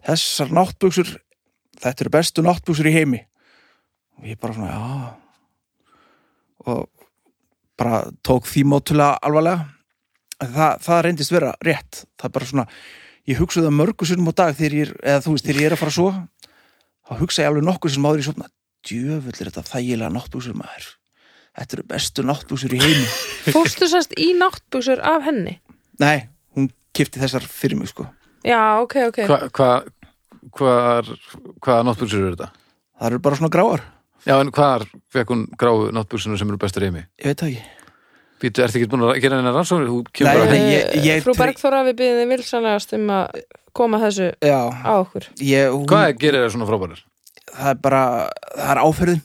[SPEAKER 2] þessar náttbuxur, þetta eru bestu náttbuxur í heimi og ég bara svona, já og bara tók því mátulega alvarlega En það, það reyndist vera rétt það er bara svona, ég hugsa það mörgu sunnum á dag þegar ég, er- eða þú veist, þegar ég er að fara svo þá hugsa ég alveg nokkuð sem áður í sofna djöfull er þetta þægilega náttbúsur maður þetta eru bestu náttbúsur í heimi
[SPEAKER 4] fórstu sérst í náttbuxur af henni
[SPEAKER 2] nei, hún kipti þessar fyrir mig sko
[SPEAKER 4] já, ok, ok
[SPEAKER 1] Hva, hva, hvar, hvaða náttbúrsur eru þetta?
[SPEAKER 2] það eru bara svona gráar,
[SPEAKER 1] Já, en hvar fekk hún gráu náttbúrsunar sem eru bestar í heimi?
[SPEAKER 2] ég veit það ekki
[SPEAKER 1] Býtu, ertu ekki búin að gera hennar rannsóknir? Þú kemur
[SPEAKER 2] Nei,
[SPEAKER 1] bara
[SPEAKER 2] nei.
[SPEAKER 1] heim.
[SPEAKER 2] ég- ég-
[SPEAKER 4] Eh, frú Bergþóra við byrðum þið vilsanlegast um að koma þessu
[SPEAKER 2] já,
[SPEAKER 4] á okkur
[SPEAKER 2] ég, hún,
[SPEAKER 1] Hvað gerir það svona frábærar?
[SPEAKER 2] það er bara það er áferðin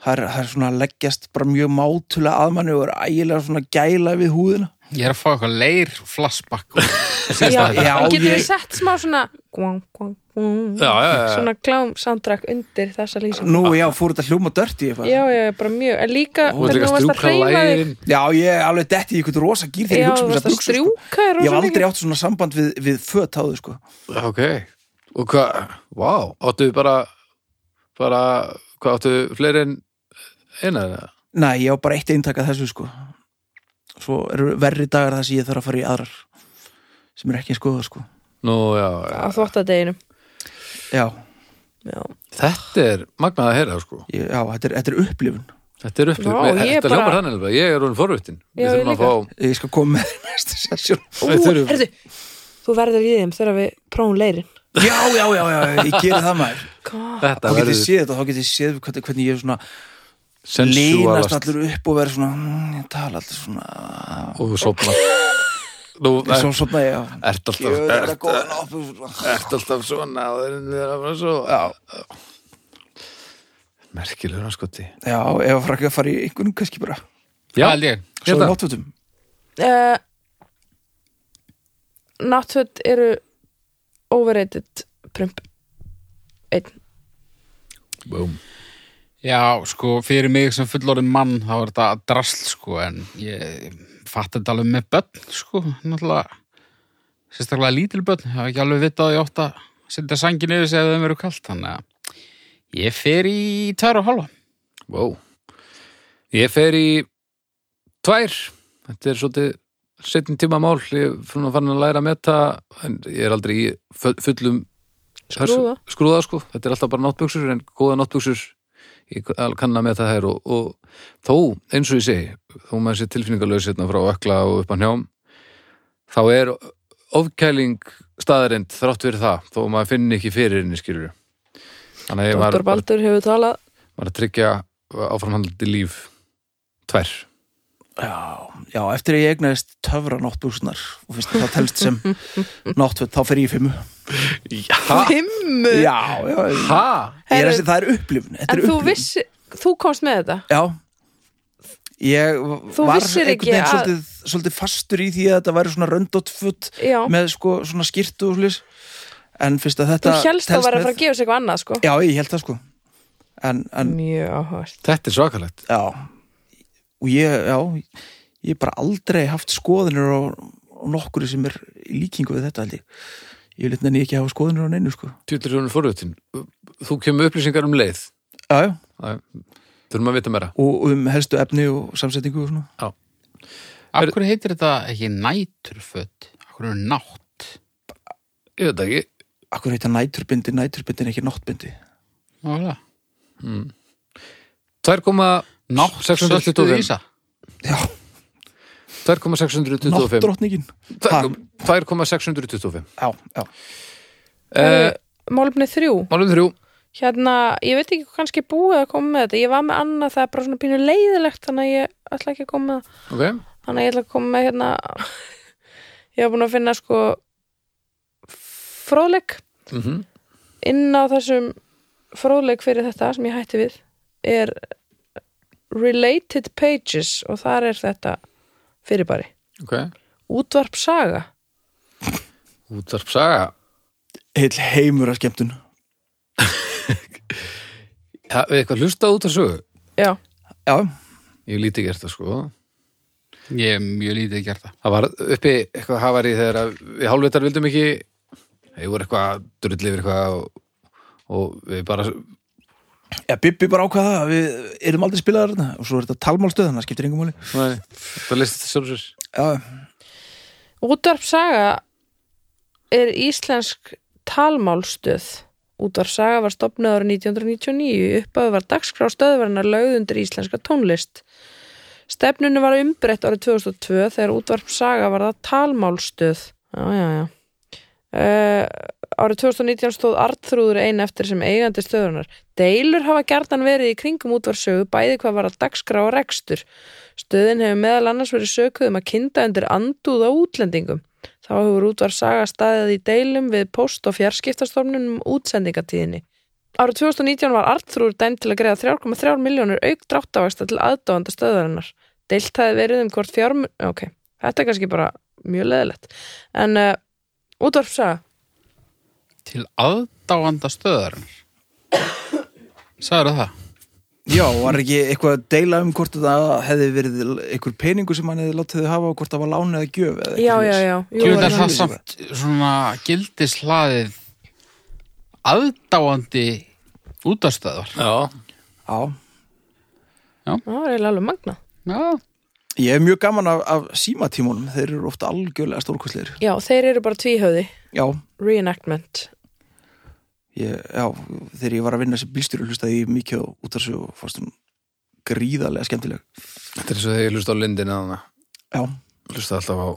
[SPEAKER 2] það er, það er svona að leggjast bara mjög mátulega að manni og er ægilega svona gæla við húðina
[SPEAKER 3] ég er að fá eitthvað leir flashback og
[SPEAKER 4] já,
[SPEAKER 2] já,
[SPEAKER 4] getur
[SPEAKER 2] ég-
[SPEAKER 4] þið sett smá svona guang, guang, guang,
[SPEAKER 1] Já, já, já.
[SPEAKER 4] svona klám soundtrack undir þessa lýsing
[SPEAKER 2] nú já, fór þetta hljóma dörti ég
[SPEAKER 4] já, já, bara mjög, en líka
[SPEAKER 1] Þú ert
[SPEAKER 4] hvernig
[SPEAKER 1] líka
[SPEAKER 4] þú
[SPEAKER 1] að
[SPEAKER 4] varst að
[SPEAKER 1] strjúka
[SPEAKER 4] hreyfa þig
[SPEAKER 1] lærin.
[SPEAKER 2] já, ég er alveg detti í eitthvað rosa gýr þegar
[SPEAKER 4] já,
[SPEAKER 2] ég
[SPEAKER 4] þú
[SPEAKER 2] hugsa um
[SPEAKER 4] varst
[SPEAKER 2] þessar
[SPEAKER 4] að
[SPEAKER 2] buxur sko.
[SPEAKER 4] strjúka þér
[SPEAKER 2] ég hef
[SPEAKER 4] rosa mikið.
[SPEAKER 2] aldrei átt svona samband við, við föt áður sko
[SPEAKER 1] Ok. Og hvað, vá, áttu bara, bara, hvað áttu fleiri en eina þeirra?
[SPEAKER 2] Nei, ég á bara eitt eintak að þessu sko Svo eru verri dagar þar sem ég þarf að fara í aðrar sem er ekki eins góðar sko
[SPEAKER 1] Nú, já,
[SPEAKER 4] á þvottadeginum
[SPEAKER 2] Já,
[SPEAKER 4] já,
[SPEAKER 1] þetta er magnað að heyra, sko.
[SPEAKER 2] ég, já þetta, er, þetta er upplifun
[SPEAKER 1] Þetta er upplýð,
[SPEAKER 4] Vá, ég
[SPEAKER 1] þetta
[SPEAKER 4] bara-
[SPEAKER 1] hljómar þannig alveg. Ég er hún forvittin.
[SPEAKER 4] Já,
[SPEAKER 1] Við
[SPEAKER 4] ég
[SPEAKER 1] þurfum að fá,
[SPEAKER 2] Ég skal koma með næstu sessjón
[SPEAKER 4] Ú,
[SPEAKER 1] Við þurfum-
[SPEAKER 4] herðu, þú verður í þeim þegar við prófum leirin
[SPEAKER 2] Já, já, já, já, ég geri það maður
[SPEAKER 4] God.
[SPEAKER 2] Þá
[SPEAKER 1] þetta
[SPEAKER 2] get ég
[SPEAKER 1] verður
[SPEAKER 2] séð þetta, þá get ég séð hvernig, hvernig ég er svona línast
[SPEAKER 1] sensúalast
[SPEAKER 2] allur upp og verður svona mm, ég tala alltaf svona
[SPEAKER 1] og sopna. Nú,
[SPEAKER 2] Svo
[SPEAKER 1] ert
[SPEAKER 2] svona, já
[SPEAKER 1] ert alltaf,
[SPEAKER 2] Ég er
[SPEAKER 1] ert,
[SPEAKER 2] að góða náttúr
[SPEAKER 1] ert alltaf svona og þeir eru að fara svo. Já. Merkilegur anskoti.
[SPEAKER 2] Já, ef að fara ekki að fara í einhvern kannski bara
[SPEAKER 1] Já,
[SPEAKER 3] held ég
[SPEAKER 2] Svo
[SPEAKER 1] Hérna.
[SPEAKER 2] náttúrtum
[SPEAKER 4] uh, náttföt eru overrated prump einn
[SPEAKER 1] Búm.
[SPEAKER 3] Já, sko, fyrir mig sem fullorinn mann þá er þetta drasl, sko, en ég fatt þetta alveg með börn, sko, náttúrulega sérstaklega lítil börn, ég hef ekki alveg vitað að ég átt að setja sangin yfir sig ef þeim eru kalt, þannig að ég fer í tvær og halva.
[SPEAKER 1] Wow. Ég fer í tvær. Þetta er svolítið setjum tíma mál. Ég er fann að að læra að meta en ég er aldrei í fu- fullum
[SPEAKER 4] Skrúða.
[SPEAKER 1] skrúða sko. Þetta er alltaf bara náttbuxur en góða náttbuxur ég kann að meta þær og, og þó, eins og ég segi þó maður sé tilfinningalöð sérna frá ökla og upp á njám þá er ofkæling staðarind þrátt fyrir það, þó maður finni ekki fyrir henni skilur Þannig að ég
[SPEAKER 4] Dr.
[SPEAKER 1] var bara
[SPEAKER 4] Baldur hefur talað
[SPEAKER 1] var að tryggja áframhandlandi líf tvær
[SPEAKER 2] Já, já, eftir að ég egnaðist töfra náttbúsunar og finnst það telst sem náttföt, þá fer ég í fimmu
[SPEAKER 1] Já,
[SPEAKER 4] Himmu
[SPEAKER 2] Já, já, ég
[SPEAKER 1] ha?
[SPEAKER 2] er að segja, það er upplifun þetta
[SPEAKER 4] En
[SPEAKER 2] er
[SPEAKER 4] þú
[SPEAKER 2] upplifun.
[SPEAKER 4] vissi, þú komst með þetta
[SPEAKER 2] Já Ég
[SPEAKER 4] Þú
[SPEAKER 2] var
[SPEAKER 4] vissir
[SPEAKER 2] einhvern
[SPEAKER 4] ekki
[SPEAKER 2] veginn
[SPEAKER 4] að-
[SPEAKER 2] svolítið, svolítið fastur í því að þetta væri svona röndóttfutt
[SPEAKER 4] Já,
[SPEAKER 2] með sko svona skýrtu og slis en finnst að
[SPEAKER 4] þú
[SPEAKER 2] þetta
[SPEAKER 4] hélst að
[SPEAKER 2] telst
[SPEAKER 4] vera
[SPEAKER 2] með-
[SPEAKER 4] að fara að gefa sig eitthvað annað sko
[SPEAKER 2] Já, ég held það sko en, en
[SPEAKER 4] Mjög áhört
[SPEAKER 1] Þetta er svakalegt
[SPEAKER 2] já og ég, já, ég hef bara aldrei haft skoðanir á, á nokkuru sem er í líkingu við þetta held ég ég vil nefnir ekki hafa skoðanir á neinu sko
[SPEAKER 1] Tjúttur hún forröðtin Þú kemur upplýsingar um leið
[SPEAKER 2] já, já,
[SPEAKER 1] Æ, Þurfum að vita meira
[SPEAKER 2] og og um helstu efni og samsetningu og svona
[SPEAKER 3] Af hverju heitir þetta ekki næturföt? Af hverju er nátt?
[SPEAKER 1] Ég veit það ekki
[SPEAKER 2] Akkur heita næturbindi, næturbindi en ekki náttbindi
[SPEAKER 3] Nálega. Nátt, söltu
[SPEAKER 1] 2,625
[SPEAKER 3] ísa.
[SPEAKER 2] Já,
[SPEAKER 1] 2,625
[SPEAKER 2] náttdrottningin Ha,
[SPEAKER 1] 2,625
[SPEAKER 2] Já, já
[SPEAKER 1] Eh,
[SPEAKER 4] Málumni þrjú
[SPEAKER 1] Málum þrjú
[SPEAKER 4] Hérna, ég veit ekki kannski búið að koma með þetta Ég var með annað, það er bara svona pínu leiðilegt Þannig að ég ætla ekki að koma með það
[SPEAKER 1] Ok
[SPEAKER 4] Þannig að ég ætla að koma með hérna Ég var búin að finna sko fróðleik
[SPEAKER 1] mm
[SPEAKER 4] inn á þessum fróðleik fyrir þetta sem ég hætti við er related pages og þar er þetta fyrirbæri
[SPEAKER 1] ok,
[SPEAKER 4] útvarp saga
[SPEAKER 1] útvarp saga
[SPEAKER 2] Heill heimur af skemmtun
[SPEAKER 1] ha, við eitthvað hlustað út af sögu
[SPEAKER 4] já,
[SPEAKER 2] Já,
[SPEAKER 1] ég hef lítið gert það sko
[SPEAKER 3] Ég er mjög lítið gert það.
[SPEAKER 1] það var uppi eitthvað hafari þegar að við hálfvitar vildum ekki þeir voru eitthvað drull yfir eitthvað og, og við bara
[SPEAKER 2] já Bibbi bara ákvaða að við erum aldrei spilaðar þarna og svo er þetta talmálstöð, þannig að skiptir engum máli
[SPEAKER 1] nei, það list þetta sjálfur sér
[SPEAKER 2] Já,
[SPEAKER 4] útvarp saga er íslensk talmálstöð útvarp saga var stopnað árið 1999 uppáðu var dagskrá stöðvarinnar lögð undir íslenska tónlist stefnunni var umbreytt árið 2002 þegar útvarp saga var það talmálstöð já, já, já Uh, árið 2019 stóð Artrúður ein eftir sem eigandi stöðunar. Deilur hafa gertan verið í kringum útvarsögu bæði hvað var að dagskrá og rekstur. Stöðin hefur meðal annars verið sökuð um að kynda undir andúð á útlendingum. Þá hefur útvar saga staðið í deilum við post- og fjarskiptastofnunum um útsendingatíðinni. Árið 2019 var Artrúður dæmt til að greiða 3,3 miljónur auk dráttavaksta til aðdáðanda stöðurinnar. Deilt hafi verið um hvort fjármun... Ok, þetta er kannski bara mjög leðilegt. En uh, útvarpsaga,
[SPEAKER 3] Til aðdáanda stöðarinn. Sagður það?
[SPEAKER 2] já var ekki eitthvað að deila um hvort þetta hefði verið einhver peningu sem hann hefði látið þau hafa og hvort það var lán eða gjöf eða eitthvað
[SPEAKER 4] já, já,
[SPEAKER 2] svoleiðis.
[SPEAKER 4] já
[SPEAKER 3] Jú,
[SPEAKER 4] er
[SPEAKER 3] það er
[SPEAKER 4] það.
[SPEAKER 3] það samt svona gildislaðið aðdáandi útastöðar.
[SPEAKER 1] já,
[SPEAKER 2] Já,
[SPEAKER 4] Já, það er eiginlega alveg magna
[SPEAKER 3] Já,
[SPEAKER 2] ég hef mjög gaman af, af símatímunum, þeir eru ofta algjörlega stórkostleir.
[SPEAKER 4] Já, þeir eru bara tvíhöfði,
[SPEAKER 2] Já,
[SPEAKER 4] reenactment
[SPEAKER 2] ég, já, þegar ég var að vinna sem bílstjóri hlustaði ég mikið á útarsögu og fannst hún gríðarlega skemmtileg.
[SPEAKER 1] þetta er eins og þegar ég hlusta á lindina þannig
[SPEAKER 2] Já,
[SPEAKER 1] hlusta alltaf á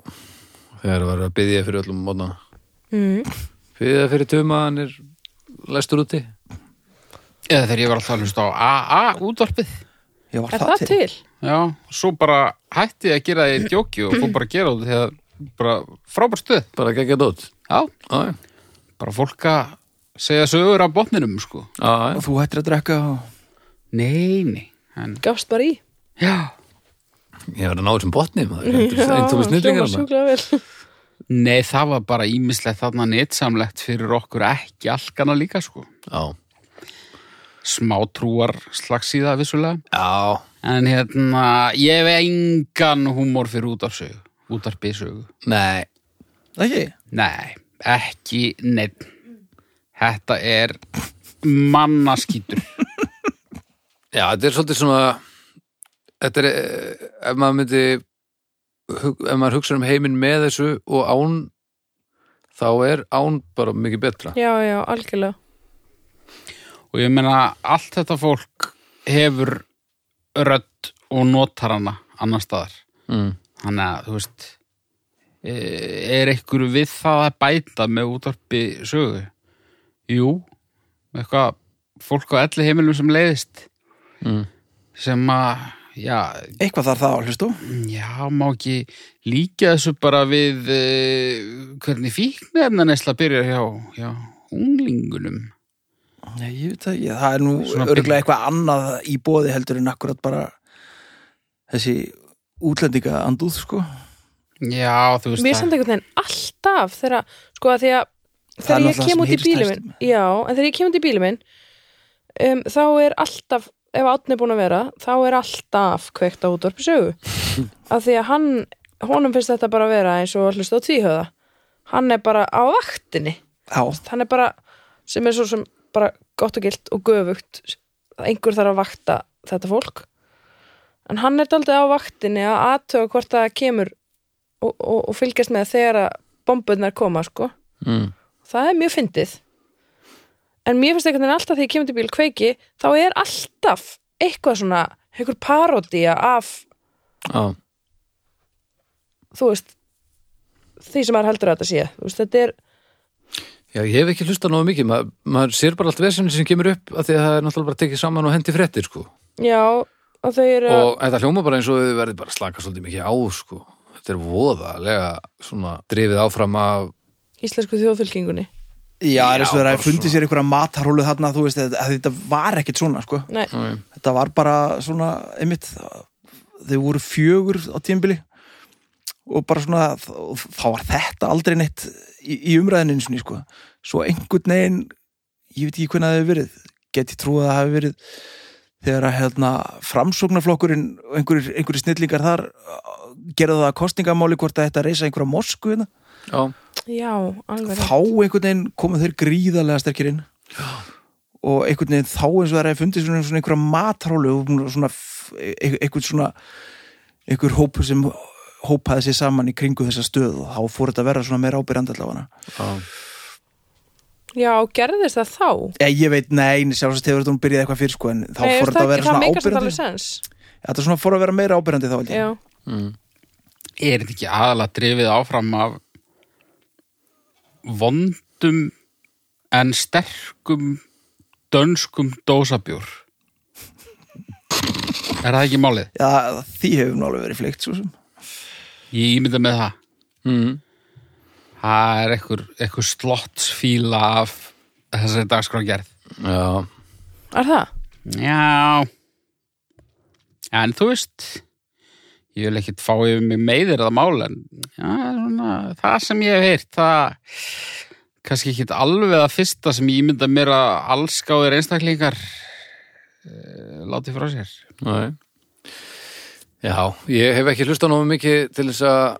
[SPEAKER 1] þegar það var að byggja fyrir öllum mótna
[SPEAKER 4] mm.
[SPEAKER 1] byggja fyrir tuma, hann er læstur úti
[SPEAKER 3] eða þegar ég var alltaf að hlusta á AA útvarpið.
[SPEAKER 2] ég var
[SPEAKER 4] Er það, til?
[SPEAKER 3] Já, svo bara hætti ég að gera það í djóki og fór bara að gera það þegar bara frábær stöð.
[SPEAKER 1] bara geggja dót
[SPEAKER 3] Já,
[SPEAKER 1] já, já,
[SPEAKER 3] bara fólk að segja sögur af botninum, sko.
[SPEAKER 1] já, já.
[SPEAKER 2] Og þú hættir að drekka og...
[SPEAKER 3] Nei, nei, en
[SPEAKER 4] Gafst bara í
[SPEAKER 3] já,
[SPEAKER 1] ég var að ná þessum botni einn tómi snillingar hana.
[SPEAKER 4] sjúklega vel
[SPEAKER 3] nei, það var bara ímislegt þarna nýtsamlegt fyrir okkur ekki alkana líka, sko.
[SPEAKER 1] já,
[SPEAKER 3] Smá trúar slagsíða vissulega.
[SPEAKER 1] já,
[SPEAKER 3] En hérna, ég hef engan húmor fyrir útarsögu, útarpisögu.
[SPEAKER 1] nei
[SPEAKER 2] Ekki?
[SPEAKER 3] Nei, ekki neitt. Þetta er mannaskítur.
[SPEAKER 1] Já, þetta er svolítið svona þetta er, eh, ef maður myndi hug- ef maður hugsa um heiminn með þessu og án þá er án bara mikið betra
[SPEAKER 4] Já, já, algjörlega
[SPEAKER 3] Og ég meina, allt þetta fólk hefur rödd og notar hana annar staðar.
[SPEAKER 1] mm.
[SPEAKER 3] Þannig að, þú veist, eh, er einhver við það að bæta með útarpi sögu? Jú, eitthvað fólk á elli heimilum sem leiðist
[SPEAKER 1] Mm.
[SPEAKER 3] sem að, já,
[SPEAKER 2] Eitthvað þarf það að hlustu?
[SPEAKER 3] Já, má ekki líka þessu bara við uh, hvernig fíknefna nesla byrjar hjá, hjá unglingunum.
[SPEAKER 2] Nei, ég veit það ekki. Það er nú
[SPEAKER 3] Svona-
[SPEAKER 2] örgulega eitthvað annað í bóði heldur en akkurat bara þessi útlendinga andúð, sko.
[SPEAKER 3] Já, þú veist
[SPEAKER 4] Mér samt einhvern veginn alltaf þegar, sko, að því að
[SPEAKER 2] er
[SPEAKER 4] þegar ég
[SPEAKER 2] náttúrulega
[SPEAKER 4] kem
[SPEAKER 2] það
[SPEAKER 4] út
[SPEAKER 2] sem
[SPEAKER 4] í bílum
[SPEAKER 2] heyrist
[SPEAKER 4] minn Já, en þegar ég kem út í bílum minn um, þá er alltaf ef Átni er búin að vera, þá er alltaf kveikt á útvarpi sögu af því að hann, honum finnst þetta bara að vera eins og hlust á tvíhöða hann er bara á vaktinni
[SPEAKER 2] Já,
[SPEAKER 4] hann er bara sem er svo sem bara gott og gilt og göfugt að einhver þarf að vakta þetta fólk en hann er daldið á vaktinni að aðtöga hvort það kemur og, og, og fylgjast með þegar að bombunar koma sko
[SPEAKER 1] Mm.
[SPEAKER 4] það er mjög fyndið en mér finnst einhvern veginn alltaf þegar ég kemur til bíl kveiki þá er alltaf eitthvað svona einhver parodía af
[SPEAKER 1] Já,
[SPEAKER 4] þú veist því sem maður heldur að þetta sé þú veist, þetta er
[SPEAKER 1] Já, ég hef ekki hlustað nógu mikið Ma, maður sér bara allt vesenni sem kemur upp af því að það er náttúrulega bara tekið saman og hendi fréttir sko
[SPEAKER 4] Já, og þau eru
[SPEAKER 1] og þetta hljóma bara eins og þau verði bara að slaka svolítið mikið á sko. þetta er voðalega svona drifið áfram af
[SPEAKER 4] íslensku þjóðfylkingunni
[SPEAKER 2] Já, það er eins og þeirra
[SPEAKER 1] bara
[SPEAKER 2] fundið
[SPEAKER 1] svona.
[SPEAKER 2] sér einhverja matarhólu þarna, þú veist, að, að þetta var ekkit svona, sko.
[SPEAKER 4] Nei,
[SPEAKER 2] Þetta var bara svona, einmitt, þau voru fjögur á tímbili og bara svona, og þá var þetta aldrei neitt í, í umræðinu eins og ný, sko. Svo einhvern veginn, ég veit ekki hvernig það hefur verið, get ég trúið að það hefur verið þegar að hérna, framsóknarflokkurinn og einhverjir, einhverjir snillingar þar uh, gerðu það að kostningamáli hvort að þetta reysa einhverja mosku hérna
[SPEAKER 1] já,
[SPEAKER 4] já, alveg
[SPEAKER 2] þá einhvern veginn komu þeir gríðarlega sterkir inn og einhvern veginn þá eins og það er fundið svona, svona einhverja matrólu og svona f- e- einhvern svona einhver hópur sem hópaði sér saman í kringu þessa stöð og þá fór þetta að vera svona meira ábyrjandi allavega
[SPEAKER 1] já.
[SPEAKER 4] Já, gerðist það þá?
[SPEAKER 2] ég, ég veit, nei, sjálfsagt hefur þetta hún byrjað eitthvað fyrir sko en þá
[SPEAKER 4] Nei,
[SPEAKER 2] fór þetta að vera
[SPEAKER 4] það
[SPEAKER 2] svona
[SPEAKER 4] meikar samt alveg
[SPEAKER 2] ábyrjandi
[SPEAKER 4] sens
[SPEAKER 2] þetta svona fór að vera meira ábyrjandi þá held ég
[SPEAKER 4] Já,
[SPEAKER 3] er þetta ekki aðalega drifið áfram af vondum en sterkum dönskum dósabjór er það ekki málið?
[SPEAKER 2] Já, því hefur nú alveg verið fleikt svo sem
[SPEAKER 3] ég ímynda með það
[SPEAKER 1] Mm.
[SPEAKER 3] það er ekkur, ekkur slottsfíla af þessari dagskrágerð
[SPEAKER 1] Mm. já.
[SPEAKER 4] er það?
[SPEAKER 3] já en þú veist ég vil ekkert fá yfir mig meðir að mála en já, svona, það sem ég hef heyrt það kannski ekkert alveg að fyrsta sem ég ímynda mér að allskáðir einstaklingar eh, láti frá sér
[SPEAKER 1] Nei. já, ég hef ekki hlusta nógu mikið til þess að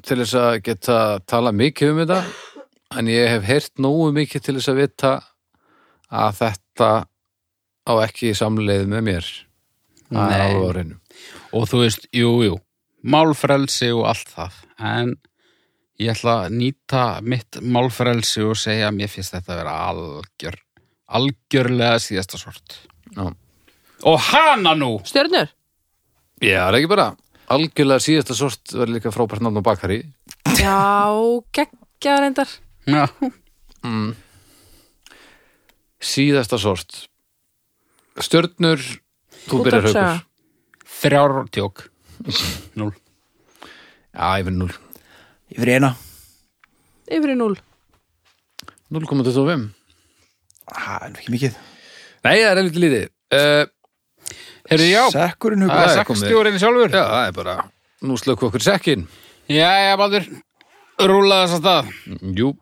[SPEAKER 1] til þess að geta tala mikið um þetta en ég hef heyrt nógu mikið til þess að vita að þetta á ekki samleið með mér Það er
[SPEAKER 3] Nei.
[SPEAKER 1] alveg á hreinu.
[SPEAKER 3] og þú veist, jú, jú málfrelsi og allt það en ég ætla að nýta mitt málfrelsi og segja að mér finnst þetta að vera algjör algjörlega síðasta sort
[SPEAKER 1] Já.
[SPEAKER 3] og hana nú
[SPEAKER 4] Stjörnur?
[SPEAKER 1] Já, það er ekki bara algjörlega síðasta sort verður líka frábært náttúrulega bakari
[SPEAKER 4] Já, geggja reyndar
[SPEAKER 3] Já.
[SPEAKER 1] síðasta sort stjörnur þú
[SPEAKER 4] Út
[SPEAKER 1] byrjar
[SPEAKER 4] af
[SPEAKER 1] haukur
[SPEAKER 4] saga.
[SPEAKER 3] þrjár tjók núl
[SPEAKER 1] Já, ég finn 0
[SPEAKER 2] yfir í eina,
[SPEAKER 4] Yfir í núl
[SPEAKER 1] 0,25
[SPEAKER 2] það er nú ekki mikið
[SPEAKER 1] Nei, það er eitthvað lítið uh,
[SPEAKER 3] Heyrðu, já,
[SPEAKER 2] sekkurinn hugur
[SPEAKER 3] það er
[SPEAKER 1] það er komið.
[SPEAKER 3] sakstjórinn sjálfur
[SPEAKER 1] Eh, Já, það er bara Nú slöku okkur sekkin
[SPEAKER 3] Já, já, Baldur, rúla þess að stað
[SPEAKER 1] Jú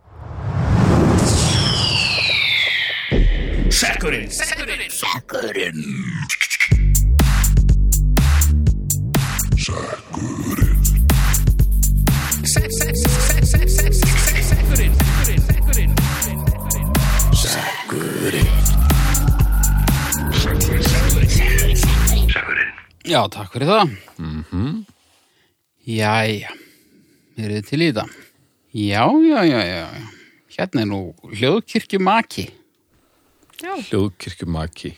[SPEAKER 3] Já, takk fyrir það mm Jæja, eru þið til í þetta? Já, já, já, já já. Hérna er nú hljóðkirkjumaki
[SPEAKER 1] Hljóðkirkjumaki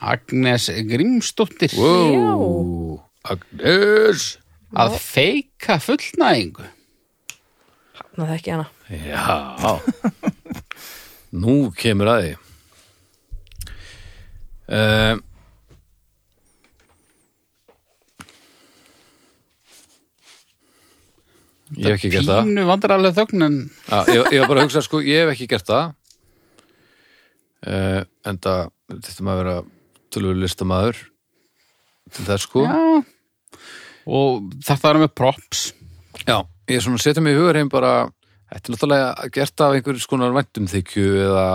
[SPEAKER 3] Agnes Grímsdóttir
[SPEAKER 1] Wow Agnes
[SPEAKER 3] að feika fullnæðingu
[SPEAKER 4] Ná, það er ekki hana
[SPEAKER 1] Já Nú kemur að því uh, Ég hef ekki gert það
[SPEAKER 3] Pínu vandrarlega þögn en
[SPEAKER 1] Já, ég, ég var bara að hugsa sko, ég hef ekki gert það uh, En það þetta maður að vera tölvölu listamaður til þess sko
[SPEAKER 3] já og þetta er með props
[SPEAKER 1] Já, ég svona setja mig í hugurheim bara Þetta er náttúrulega gert af einhverjum skonar væntumþykju eða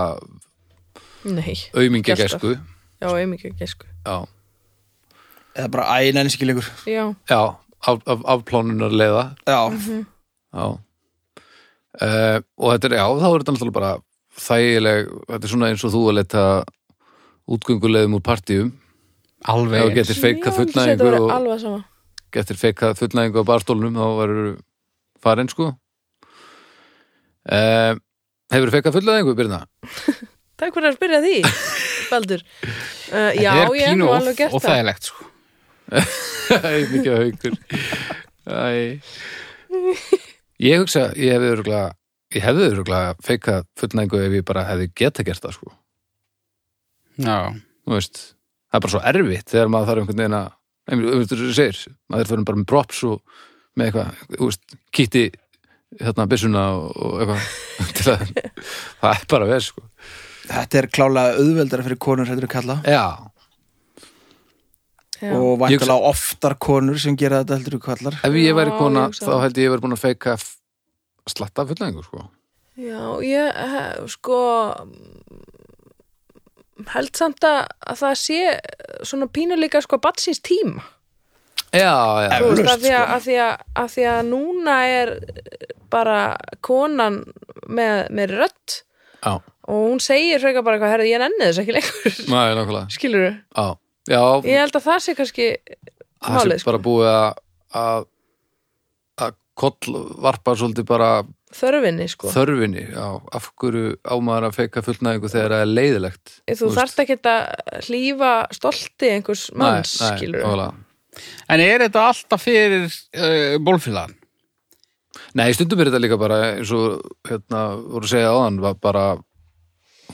[SPEAKER 4] Nei,
[SPEAKER 1] aumingegæsku
[SPEAKER 4] já, einmikið gesku
[SPEAKER 1] Já,
[SPEAKER 2] eða bara æna eins ekki lengur
[SPEAKER 4] Já,
[SPEAKER 1] já af, af, afplánunar leiða
[SPEAKER 2] já,
[SPEAKER 1] já. Uh, og þetta er, já, þá er þetta náttúrulega bara þægileg, þetta er svona eins og þú að leta útgöngulegum úr partíum ef þú
[SPEAKER 3] alveg eins.
[SPEAKER 1] getur feikað
[SPEAKER 4] Já, þetta
[SPEAKER 1] fullnæðingu
[SPEAKER 4] verður
[SPEAKER 1] og
[SPEAKER 4] alveg sama
[SPEAKER 1] getur feikað fullnæðingu á barstólnum þá verður farin sko uh, Hefur feikað fullnæðingu, Birna?
[SPEAKER 4] Takk fyrir að spyrja því, Baldur uh, Já, ég
[SPEAKER 3] Þetta er
[SPEAKER 4] hef
[SPEAKER 3] pínu
[SPEAKER 4] nú
[SPEAKER 3] óþ-
[SPEAKER 4] alveg gert það
[SPEAKER 3] óþægilegt sko.
[SPEAKER 1] Æ, mikið haukur Æ Ég hugsa, ég hefði örgulega ég hefði örgulega feikað fullnæðingu ef ég bara hefði geta gert það sko
[SPEAKER 3] já,
[SPEAKER 1] þú veist, það er bara svo erfitt þegar maður þarf einhvern veginn að einhvern veginn þú segir, maður er fyrir bara með props og með eitthvað, þú veist, kýtti hérna byssuna og, og eitthvað til að það er bara verð sko.
[SPEAKER 2] Þetta er klálega auðveldara fyrir konur heldur en kalla
[SPEAKER 1] Já,
[SPEAKER 4] Já.
[SPEAKER 2] og vantilega oftar konur sem gera þetta heldur en kallar
[SPEAKER 1] ef ég væri
[SPEAKER 4] Já,
[SPEAKER 1] kona
[SPEAKER 4] ég hugsa
[SPEAKER 1] þá
[SPEAKER 4] það.
[SPEAKER 1] held ég ég væri búin að feika f- slatta fullengur sko.
[SPEAKER 4] Já, ég he- sko held samt að, að það sé svona pínuleika sko batsins tíma
[SPEAKER 1] Já, já,
[SPEAKER 4] Þú veist,
[SPEAKER 2] Eflaust,
[SPEAKER 4] að því að,
[SPEAKER 2] sko.
[SPEAKER 4] að, því að, að því að núna er eh, bara konan með, með rödd
[SPEAKER 1] já,
[SPEAKER 4] og hún segir frekar bara eitthvað, herrðu, ég nenni þess ekki lengur
[SPEAKER 1] næ, nákvæmlega
[SPEAKER 4] skilur
[SPEAKER 1] Já, já,
[SPEAKER 4] ég sko. held að það sé kannski
[SPEAKER 1] það
[SPEAKER 4] málið,
[SPEAKER 1] sé bara búið að- að að koll varpa svolítið bara
[SPEAKER 4] þörfinni sko
[SPEAKER 1] þörfinni á af hverju á maður að feika fullnæðingu þegar það er leiðilegt
[SPEAKER 4] þú, þú þarft ekki að hlýfa stolti einhvers manns skilur
[SPEAKER 1] ólega.
[SPEAKER 3] En er þetta alltaf fyrir uh, bólfélagann?
[SPEAKER 1] Nei, stundum er þetta líka bara eins og hérna, voru að segja áðan var bara,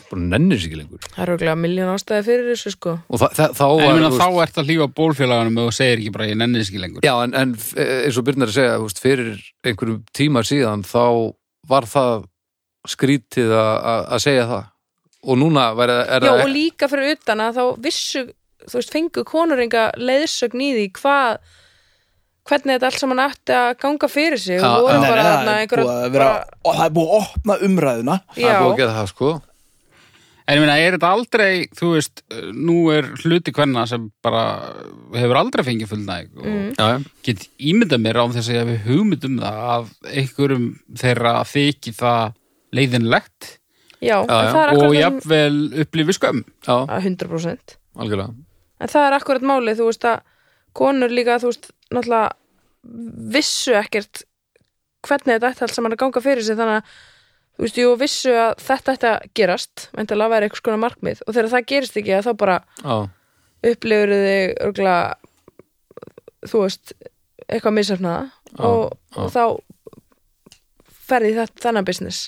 [SPEAKER 1] bara nennir sér ekki lengur
[SPEAKER 4] það er auðvitað miljón ástæði fyrir þessu sko
[SPEAKER 1] og þa þa þá
[SPEAKER 3] En ég
[SPEAKER 1] var
[SPEAKER 3] meina
[SPEAKER 1] þú
[SPEAKER 3] þá ert að hlífa bólfélaganum og þú segir ekki bara ég nenni þess ekki lengur.
[SPEAKER 1] Já, en, en f- eins og Byrnar er að segja, þú veist, fyrir einhverjum tíma síðan þá var það skrítið að- að að segja það og núna væri, það- er
[SPEAKER 4] já
[SPEAKER 1] það
[SPEAKER 4] og líka fyrir utan að þá vissu þú veist, fengu konuringa leiðsögn í því hvað hvernig þetta allt saman átti að ganga fyrir sig
[SPEAKER 1] Já,
[SPEAKER 4] og voru
[SPEAKER 1] já.
[SPEAKER 2] Nei,
[SPEAKER 4] bara
[SPEAKER 2] nei, það er
[SPEAKER 4] þarna
[SPEAKER 2] búið að
[SPEAKER 4] einhverja
[SPEAKER 2] vera,
[SPEAKER 4] bara-
[SPEAKER 2] og það er búið að opna umræðuna
[SPEAKER 1] það er búið að
[SPEAKER 4] já,
[SPEAKER 1] gera það sko
[SPEAKER 3] En ég meina, er þetta aldrei, þú veist, eh, nú er hluti hvenna sem bara hefur aldrei fengið fullnæg og
[SPEAKER 4] Mm.
[SPEAKER 1] já, já.
[SPEAKER 3] get ímyndað mér án þess að ég hefði hugmynd um það að einhverjum þeirra þykir það leiðinlegt
[SPEAKER 4] já, en
[SPEAKER 1] já.
[SPEAKER 4] það er um-
[SPEAKER 3] og
[SPEAKER 4] akkurat það sem-
[SPEAKER 3] jafnvel upplifi skömm.
[SPEAKER 1] já,
[SPEAKER 4] að 100%
[SPEAKER 1] algjörlega
[SPEAKER 4] en það er akkurat málið, þú veist að konur líka, þú veist, náttúrulega vissu ekkert hvernig þetta ætti allt saman að ganga fyrir sig þannig að, þú veist, jú, vissu að þetta ætti að gerast, vendilega að vera eitthvað skona markmið og þegar það gerist ekki, að þá bara
[SPEAKER 1] já,
[SPEAKER 4] upplifur þig örgla, þú veist, eitthvað misafnaða og,
[SPEAKER 1] já.
[SPEAKER 4] og þá ferði þetta þannig business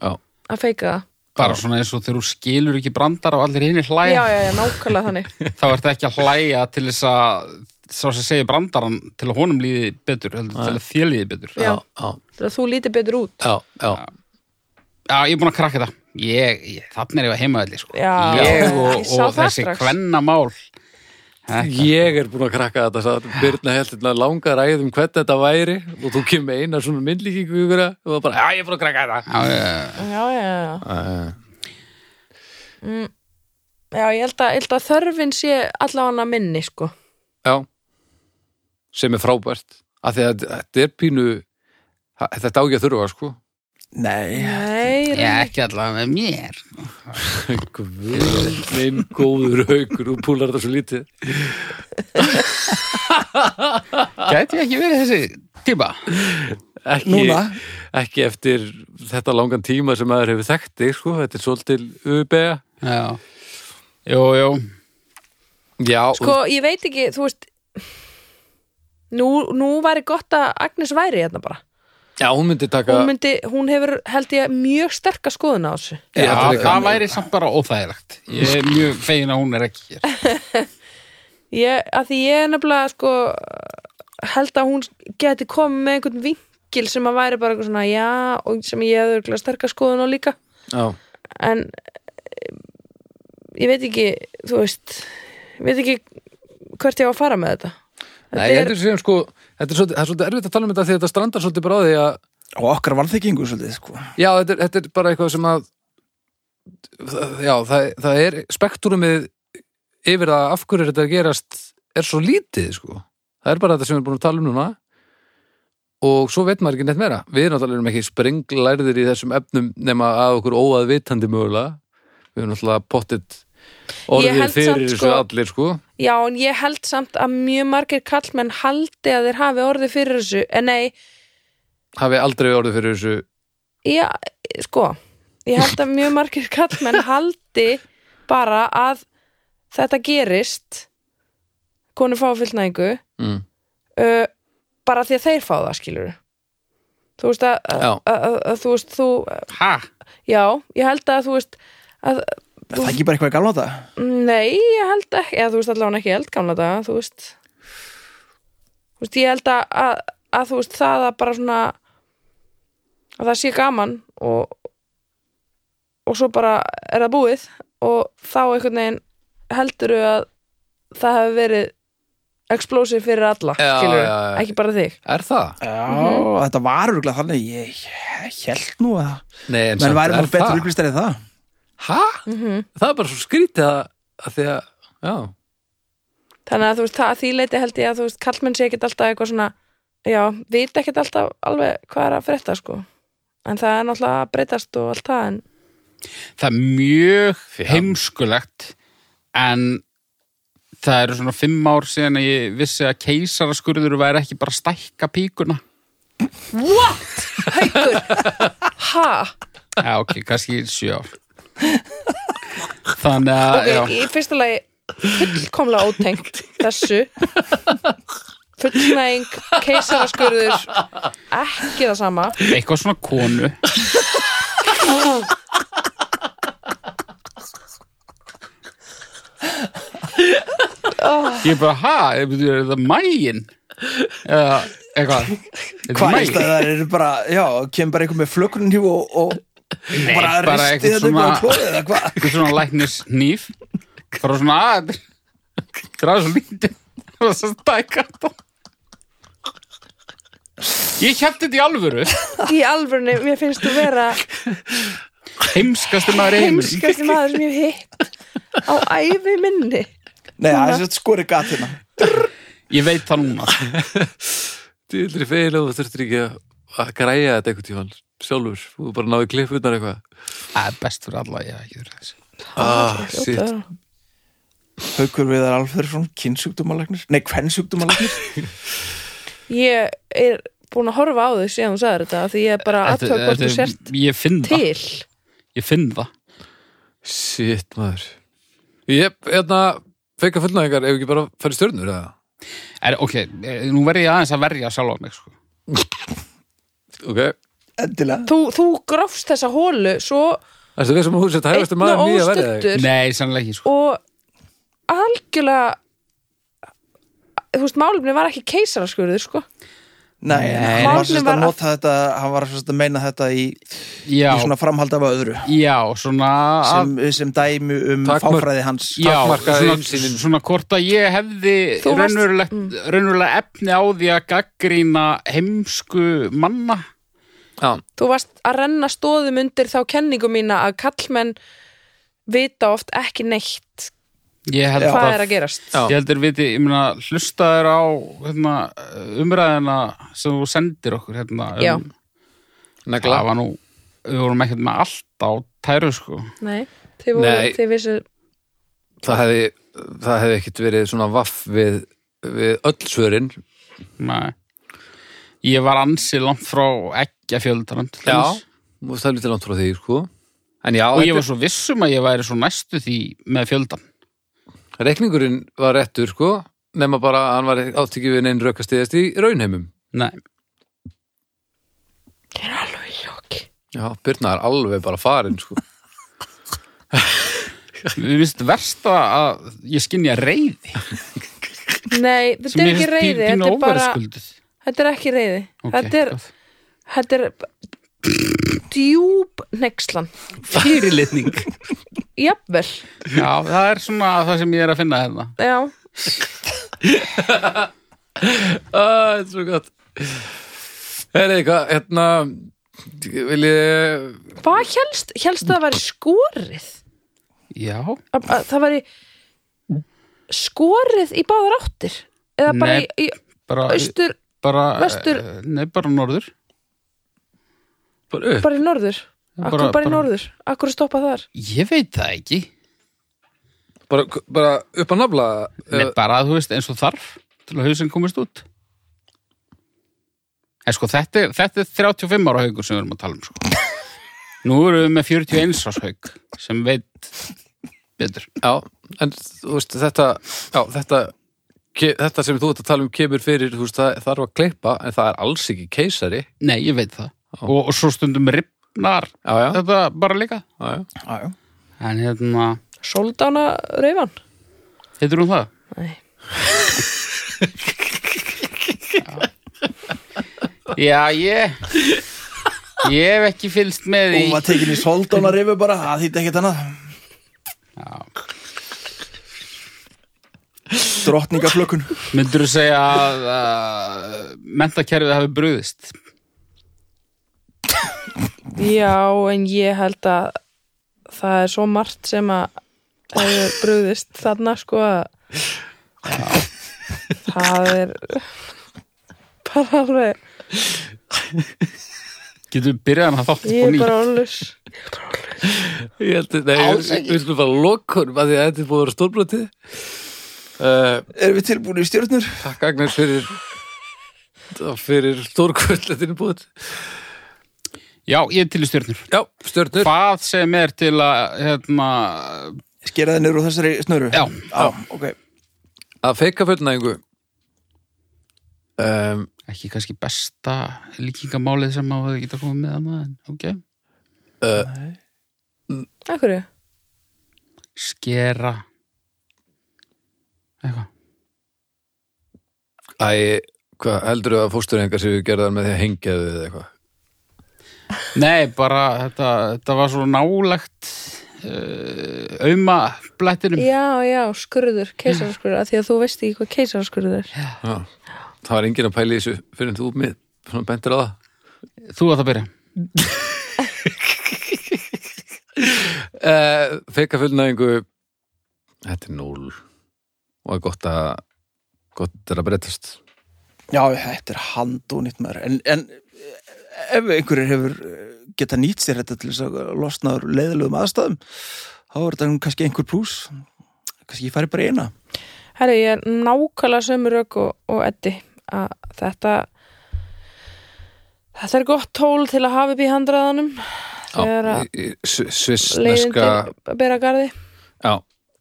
[SPEAKER 1] já,
[SPEAKER 4] að feika það
[SPEAKER 3] Bara svona eins og þegar þú skilur ekki brandar og allir hinn
[SPEAKER 4] já,
[SPEAKER 3] hlæja,
[SPEAKER 4] já, já, nákvæmlega þannig
[SPEAKER 3] þá ertu ekki að hlæja til þess að sá sem segir brandaran til að honum líði betur, heldur til að þér líði betur.
[SPEAKER 4] já,
[SPEAKER 1] já,
[SPEAKER 4] þegar þú lítið betur út
[SPEAKER 1] já, já.
[SPEAKER 3] Já, ég er búin að krakka þetta. Ég, ég, þannig er ég að heimaðalli, sko.
[SPEAKER 4] Já,
[SPEAKER 3] ég
[SPEAKER 4] ég
[SPEAKER 3] og,
[SPEAKER 4] sá það
[SPEAKER 3] og þessi
[SPEAKER 4] strax.
[SPEAKER 3] kvennamál.
[SPEAKER 1] Ég er búin að krakka þetta sagði Birna heldur að langa ræð um hvernig þetta væri og þú kemur með eina svona myndlíkingu ykkur og það bara, já, ég er búin að krakka þetta
[SPEAKER 3] Já, já, já.
[SPEAKER 4] já, já, já
[SPEAKER 1] já,
[SPEAKER 4] Mm. Já, ég held að, ég held að þörfin sé allavega minni, sko.
[SPEAKER 1] já sem er frábært af því að þetta er pínu þetta á ekki að þurfa, sko
[SPEAKER 2] Nei,
[SPEAKER 4] Nei, ég
[SPEAKER 3] Já, ekki allavega með mér.
[SPEAKER 1] Guð, minn góður haukur og púlar þetta svo lítið
[SPEAKER 3] Gæti ég ekki verið þessi típa?
[SPEAKER 1] ekki,
[SPEAKER 2] Núna?
[SPEAKER 1] ekki eftir þetta langan tíma sem maður hefur þekkt þig, sko, þetta er svolítil ubega
[SPEAKER 3] Já. Jú, jú.
[SPEAKER 1] já,
[SPEAKER 4] sko, ég veit ekki, þú veist, nú, nú væri gott að Agnes væri hérna bara.
[SPEAKER 1] já, hún myndi taka
[SPEAKER 4] Hún, myndi, hún hefur, held ég, mjög sterka skoðun á þessu.
[SPEAKER 1] Ég
[SPEAKER 3] Já,
[SPEAKER 1] held að líka-
[SPEAKER 3] það væri samt bara óþægilegt. Ég er mjög fegin að hún er ekki hér.
[SPEAKER 4] Ég, að því ég er nefnilega, sko, held að hún geti komið með einhvern vinkil sem að væri bara eitthvað svona, já, og sem ég hefur örugglega sterka skoðun á líka.
[SPEAKER 1] já,
[SPEAKER 4] en eh, ég veit ekki þú veist, ég veit ekki hvert ég á að fara með þetta
[SPEAKER 1] Nei, ég heldur sem sko, þetta er svolítið, það er svolítið erfitt að tala um þetta því að þetta strandar svolítið bara á því að
[SPEAKER 2] og okkar vanþekkingu svolítið sko
[SPEAKER 1] já, þetta er, þetta er bara eitthvað sem að já, það, það er spektrumið yfir það af hverju þetta er að gerast er svo lítið, sko það er bara þetta sem við erum búin að tala um núna og svo veit maður ekki neitt meira við erum náttúrulega erum ekki sprenglærðir í þessum efnum nema að okkur óað vitandi mögulega við erum náttúrulega pottitt
[SPEAKER 4] Ég
[SPEAKER 1] orðið
[SPEAKER 4] held samt,
[SPEAKER 1] fyrir þessu
[SPEAKER 4] sko-
[SPEAKER 1] allir, sko
[SPEAKER 4] já, en ég held samt að mjög margir kallmenn haldi að þeir hafi orðið fyrir þessu en nei,
[SPEAKER 1] hafi aldrei orðið fyrir þessu
[SPEAKER 4] já, sko ég held að mjög margir kallmenn haldi bara að þetta gerist konu fá fullnæðingu
[SPEAKER 1] mm.
[SPEAKER 4] uh, bara því að þeir fá það skilur þú veist að, að,
[SPEAKER 1] Já.
[SPEAKER 4] að, að, að þú veist þú
[SPEAKER 3] Ha?
[SPEAKER 4] Já, ég held að þú veist að
[SPEAKER 2] Er það ekki bara eitthvað í galna þetta?
[SPEAKER 4] Nei, ég held ekki, eða þú veist allavega ekki held gamla daga, þú veist Þú veist, ég held að, að, að þú veist það að bara svona að það sé gaman og og svo bara er það búið og þá einhvern veginn heldurðu að það hefur verið explosive fyrir alla,
[SPEAKER 1] Já,
[SPEAKER 4] skilurðu,
[SPEAKER 1] já, já.
[SPEAKER 4] ekki bara þig
[SPEAKER 1] Er það?
[SPEAKER 2] Já, Mm-hmm. þetta var örgulega þannig Ég held nú að
[SPEAKER 1] Nei, en
[SPEAKER 2] Menn væri
[SPEAKER 1] er
[SPEAKER 2] maður betur upplýstar en það
[SPEAKER 1] Hæ? Það er bara svo skrítið að, að því að, já,
[SPEAKER 4] þannig að þú veist, það, að því leiti held ég að þú veist, kallmenn sé ekkit alltaf eitthvað svona já, vita ekkit alltaf alveg hvað er að frétta sko, en það er náttúrulega að breytast og allt það, en
[SPEAKER 3] það er mjög heimskulegt en það eru svona fimm ár síðan að ég vissi að keisaraskurður væri ekki bara að stækka píkuna
[SPEAKER 4] ha,
[SPEAKER 3] Já, ok, kannski sjö ár Þannig
[SPEAKER 1] Ah,
[SPEAKER 3] að
[SPEAKER 4] ok,
[SPEAKER 3] já,
[SPEAKER 4] í fyrsta lagi fullkomlega ótengt þessu fullnæðing keisaraskurður ekki það sama
[SPEAKER 3] eitthvað svona konu Ég er bara, ha, er er það mægin? Eða, eitthvað Er það
[SPEAKER 2] Hvað
[SPEAKER 3] maginn?
[SPEAKER 2] er það? Það eru bara, já, kemur bara eitthvað með flökkunum hjú og, og Nei, bara
[SPEAKER 3] bara
[SPEAKER 2] risti þetta
[SPEAKER 3] eitthvað
[SPEAKER 2] eitthvað á
[SPEAKER 3] svona-
[SPEAKER 2] klóðið eða hvað
[SPEAKER 3] eitthvað svona læknis nýf bara svona "Ah, að það er svo lítið það er svo stækka ég held þetta í alvöru
[SPEAKER 4] í alvörni, mér finnst þú vera
[SPEAKER 3] heimskastum maður heimur
[SPEAKER 4] heimskasti maður sem ég hef hitt á ævi minni
[SPEAKER 2] Nei, það er sérst skori gat hérna
[SPEAKER 3] ég veit það núna
[SPEAKER 1] dýldri feil og þú þurftir ekki að, að græja þetta einhvern tímann sjálfur, þú bara náðu klipputnar eitthvað.
[SPEAKER 3] það er best fyrir alla ég hef ekki verið þessi
[SPEAKER 1] Ah, shit.
[SPEAKER 4] Hljóta að vera.
[SPEAKER 2] Haukur Viðar Alfredsson, kynnsjúkdómalagnir Nei, kvennsjúkdómalagnir
[SPEAKER 4] ég er búin að horfa á þau síðan þú sagðir þetta af því ég er bara aðtöð hvort þú sért
[SPEAKER 3] ég finn það
[SPEAKER 4] til
[SPEAKER 3] ég finn það
[SPEAKER 1] Shit, maður. Ég, hérna, feika fullnæðingar ef ekki bara færi stjörnur, eða?
[SPEAKER 3] er, ok, eh, nú verð ég aðeins að verja sjálf á mig sko.
[SPEAKER 1] Ok.
[SPEAKER 2] Endilega
[SPEAKER 4] þú, þú grófst þessa hólu svo
[SPEAKER 1] Erstu við sem hún sett hægast
[SPEAKER 4] einn
[SPEAKER 1] um maður
[SPEAKER 4] og
[SPEAKER 1] nýja verið þig?
[SPEAKER 4] óstuttur
[SPEAKER 3] nei, sannlega ekki sko.
[SPEAKER 4] og algjörlega þú veist, málumni var ekki keisaraskurður sko.
[SPEAKER 2] Nei,
[SPEAKER 3] Nei.
[SPEAKER 2] hann var sérst
[SPEAKER 4] Málin
[SPEAKER 2] að
[SPEAKER 4] var-
[SPEAKER 2] nota þetta Hann var sérst að meina þetta í,
[SPEAKER 3] já,
[SPEAKER 2] í svona framhald af öðru
[SPEAKER 3] já, svona að-
[SPEAKER 2] sem, sem dæmi um
[SPEAKER 1] Takk, Mörk.
[SPEAKER 2] fáfræði hans
[SPEAKER 3] Já,
[SPEAKER 1] Takmarkaði
[SPEAKER 3] svona,
[SPEAKER 1] innsýnin.
[SPEAKER 3] svona hvort að ég hefði
[SPEAKER 4] Þú varst- Mm.
[SPEAKER 3] raunverulegt, raunverulega efni á því að gaggrína heimsku manna
[SPEAKER 1] Já,
[SPEAKER 4] þú varst að renna stóðum undir þá kenningu mína að kallmenn vita oft ekki neitt
[SPEAKER 3] ég held
[SPEAKER 4] hvað er að gerast
[SPEAKER 1] Já.
[SPEAKER 3] ég heldur viti, ég meina hlusta þér á hérna, umræðina sem þú sendir okkur hérna,
[SPEAKER 4] Já.
[SPEAKER 3] um,
[SPEAKER 1] negla.
[SPEAKER 3] það var nú við vorum ekkert með allt á tæru sko
[SPEAKER 4] nei, þið, voru,
[SPEAKER 1] Nei.
[SPEAKER 4] þið vissu
[SPEAKER 1] Það hefði, það hefði ekkit verið svona vaff við, við öll svörin.
[SPEAKER 3] Nei. ég var ansi langt frá ekki að fjöldarand
[SPEAKER 1] Þú veist, Það er lítið langt frá því, sko. En já,
[SPEAKER 3] og ég
[SPEAKER 1] þetta-
[SPEAKER 3] var svo vissum að ég væri svo næstu því með fjöldan
[SPEAKER 1] Rekningurinn var réttur sko nema bara að hann var átt ekki við neinn rökkastiðast í raunheimum.
[SPEAKER 3] Nei.
[SPEAKER 4] ég er alveg í ljóki
[SPEAKER 1] Já, Birna er alveg bara farin sko.
[SPEAKER 3] Við finnst verst að- að ég skynja reyði
[SPEAKER 4] nei, þetta er ekki reyði, þetta er bara þetta er ekki reyði þetta, er, þetta er djúb nexlan
[SPEAKER 3] fyrirlitning
[SPEAKER 4] jafnvel,
[SPEAKER 3] Já, það er svona það sem ég er að finna hérna
[SPEAKER 4] já
[SPEAKER 1] Það er svo gott. Herri, hvað, hérna, vil ég,
[SPEAKER 4] hvað helst, helst það væri skorið
[SPEAKER 3] Já,
[SPEAKER 4] að, að það væri skorið í báðar áttir eða bara
[SPEAKER 3] Nei.
[SPEAKER 4] í, í
[SPEAKER 3] bara,
[SPEAKER 4] austur
[SPEAKER 3] bara
[SPEAKER 4] vestur-
[SPEAKER 3] eh, Nei, bara norður
[SPEAKER 1] bara upp,
[SPEAKER 4] bara í norður akkur bara,
[SPEAKER 3] Bara-
[SPEAKER 4] í
[SPEAKER 3] bara-
[SPEAKER 4] norður, akkur að stoppa þar
[SPEAKER 3] Ég veit það ekki
[SPEAKER 1] bara, bara upp að nafla,
[SPEAKER 3] Nei,
[SPEAKER 4] Eh.
[SPEAKER 1] uh,
[SPEAKER 3] bara þú veist eins og þarf til að hausinn komist út En sko, þetta er, þetta er 35 ára haugur sem við erum að tala um sko. Nú erum við með 41 ára haug sem veit betur
[SPEAKER 1] já, en þú veist, þetta, já, þetta, ke, þetta sem þú ert að tala um kemur fyrir, þú veist, það þarf að klippa, en það er alls ekki keisari.
[SPEAKER 3] Nei, ég veit það og, og svo stundum ripnar
[SPEAKER 1] Já, já,
[SPEAKER 3] Ah. þetta bara líka
[SPEAKER 1] já, já.
[SPEAKER 2] Já, já.
[SPEAKER 3] En hérna,
[SPEAKER 4] Soldána raufan?
[SPEAKER 3] heitir hún það?
[SPEAKER 4] Nei.
[SPEAKER 3] Já, ég Ég hef ekki fylgst með í
[SPEAKER 2] Hún var tekin í soldóna rifu bara, það þýtti ekkert annað Drottningaflökun
[SPEAKER 3] Myndur þú segja að uh, mentakerfið hafi brugðist?
[SPEAKER 4] Já, en ég held að það er svo margt sem að hefur brugðist þarna sko að það er bara alveg
[SPEAKER 3] Getur við byrjað hann að þátt
[SPEAKER 4] ég
[SPEAKER 3] upp á
[SPEAKER 4] er
[SPEAKER 3] nýtt?
[SPEAKER 4] bara ólus
[SPEAKER 1] Ég held að, nei, við við skulum bara lokunum að því að þetta er búið að vera stórbrotið. Uh,
[SPEAKER 2] Erum við tilbúin í stjörnur?
[SPEAKER 1] takk Agnes fyrir, fyrir stórkvöldletinni búið.
[SPEAKER 3] Já, ég er til í stjörnur.
[SPEAKER 1] Já, stjörnur.
[SPEAKER 3] Hvað sem er til að, hérna,
[SPEAKER 2] Skeraði niður úr þessari snöru?
[SPEAKER 3] Já,
[SPEAKER 2] já ok
[SPEAKER 1] Að feika fullnæðingu. Um,
[SPEAKER 3] ekki kannski besta líkingamálið sem að geta komið með annað, en ok.
[SPEAKER 4] Akkur ég?
[SPEAKER 3] Skera. Eitthvað.
[SPEAKER 1] æ, hvað heldur að fósturhengar séu gerðar með því að hengja þau eða eitthvað?
[SPEAKER 3] Nei, bara þetta, þetta var svo nálegt uh, auma blættinum.
[SPEAKER 4] Já, já, skurður, keisaraskurður af því að þú veist ekki hvað keisaraskurður er
[SPEAKER 1] Já. Það var enginn að pæla í þessu fyrir en þú mið, svona bentir á það.
[SPEAKER 3] Þú að það byrja.
[SPEAKER 1] uh, feika fullnæðingu þetta er núl og er gott að gott er að breytast
[SPEAKER 2] Já, þetta er handónýtt maður en, en ef einhverjir hefur eh, geta nýtt sér þetta til þess að losna úr leiðilegum aðstæðum þá er þetta nú kannski einhver plús kannski ég fari bara í eina
[SPEAKER 4] Herri, ég er nákvæmlega sömu rauk og, og Eddi að þetta þetta er gott tól til að hafa upp í handraðanum þegar að leiðin
[SPEAKER 1] svissneska
[SPEAKER 4] til að bera garði
[SPEAKER 1] já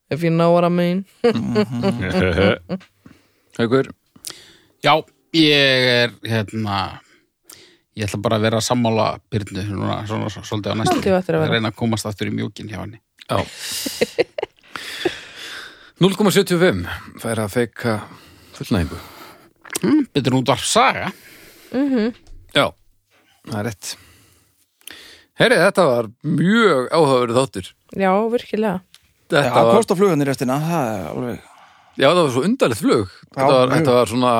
[SPEAKER 4] If you know what I mean
[SPEAKER 1] haukur
[SPEAKER 3] Já, ég er, hérna, ég ætla bara að vera að sammála byrnu núna, svona, svona, svolítið á næstu.
[SPEAKER 4] Haldið þú eftir að vera.
[SPEAKER 3] reyna að komast aftur í mjúkin hjá henni.
[SPEAKER 1] já 0,75 fær að feika fullnæðingu
[SPEAKER 3] Hmm, Betur út varf saga.
[SPEAKER 4] Mhm.
[SPEAKER 1] já það er rétt herri þetta var mjög áhugaverð þáttur
[SPEAKER 4] Já, virkilega
[SPEAKER 2] Já,
[SPEAKER 1] þetta
[SPEAKER 2] var...
[SPEAKER 1] var
[SPEAKER 2] kosta flugan í restina það er alveg
[SPEAKER 1] Já, það var svo undarlegt flug. þetta, var,
[SPEAKER 2] mjög.
[SPEAKER 1] þetta var svona,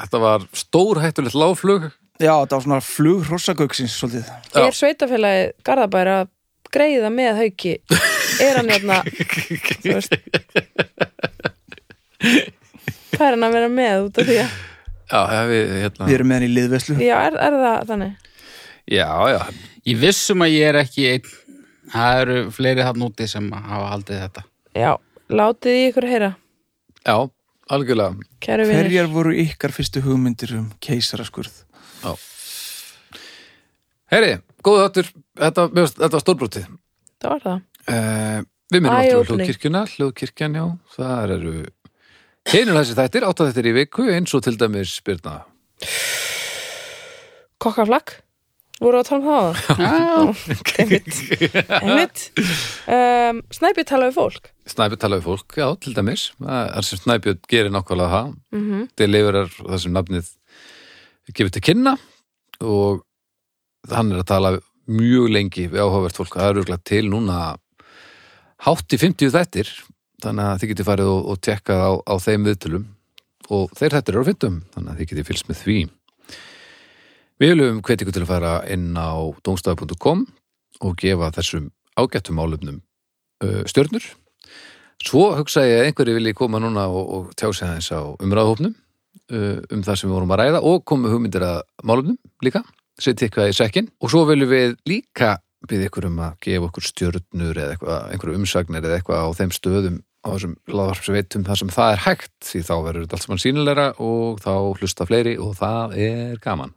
[SPEAKER 1] þetta var stórhættulegt lágflug.
[SPEAKER 2] Já, þetta var svona flug hrossagauksins svolítið
[SPEAKER 1] Já.
[SPEAKER 4] Er sveitafélagi Garðabæri að greiða með hauki Er hann hérna Þú veist Það er hann að vera með út af því að
[SPEAKER 1] Já, ef við,
[SPEAKER 2] Við
[SPEAKER 1] hérna,
[SPEAKER 2] erum með hann í liðveslu
[SPEAKER 4] Já, er, er það þannig?
[SPEAKER 1] já, já,
[SPEAKER 3] Ég vissum að ég er ekki einn, það eru fleiri þarna úti sem hafa haldið þetta.
[SPEAKER 4] Já, látið í ykkur heyra
[SPEAKER 1] já, algjörlega.
[SPEAKER 4] Kæru vinir
[SPEAKER 2] Hverjar voru ykkar fyrstu hugmyndir um keisaraskurð?
[SPEAKER 1] Herri, góðu þáttur, þetta, mér varst- þetta var stórbrotið.
[SPEAKER 4] Það var það
[SPEAKER 1] Uh, við minnum
[SPEAKER 4] Eye
[SPEAKER 1] alltaf
[SPEAKER 4] opening.
[SPEAKER 1] hljóðkirkjuna, hljóðkirkjan, já, þar eru hinur þessi þættir, átta þættir í viku, eins og til dæmis spyrna.
[SPEAKER 4] Kokkaflakk Voru að tala um það á það? Einmitt Einmitt um, Snæbjörn talaði við fólk
[SPEAKER 1] Snæbjörn tala við fólk, já, til dæmis, það er sem Snæbjörn gerir nákvæmlega það.
[SPEAKER 4] mm
[SPEAKER 1] til lifurar það sem nafnið gefur til kynna og hann er að tala mjög lengi við áhugavert fólk það er örgulega til núna hátt í 50 þættir þannig að þið getið farið og, og tekkað á, á þeim viðtölum og þeir þættir eru á 50 þannig að þið getið fylgst með því Við viljum hvetja ykkur til að fara inn á domstaf.com og gefa þessum ágættum álöfnum uh, stjörnur Svo hugsa ég að einhverju vilji koma núna og, og tjá sig aðeins á umræðahópnum uh, um það sem við vorum að ræða og koma með hugmyndir að málumnum líka, setja eitthvað í sekkin og svo viljum við líka við ykkur um að gefa okkur stjörnur eða eitthvað, einhverju umsagnir eða eitthvað á þeim stöðum á þessum laðvarpsveitum þar sem það er hægt því þá verður þetta allt saman sínilegra og þá hlusta fleiri og það er gaman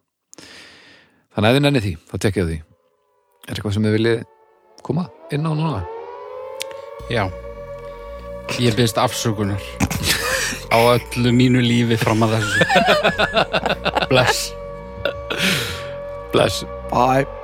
[SPEAKER 1] Þannig að þið nenni því, þá tekja því Er eitthvað sem þið viljið koma inn á núna?
[SPEAKER 3] Já, ég byrst afsökunar á öllu mínu lífi fram að þessu. Bless.
[SPEAKER 1] Bless
[SPEAKER 2] Bye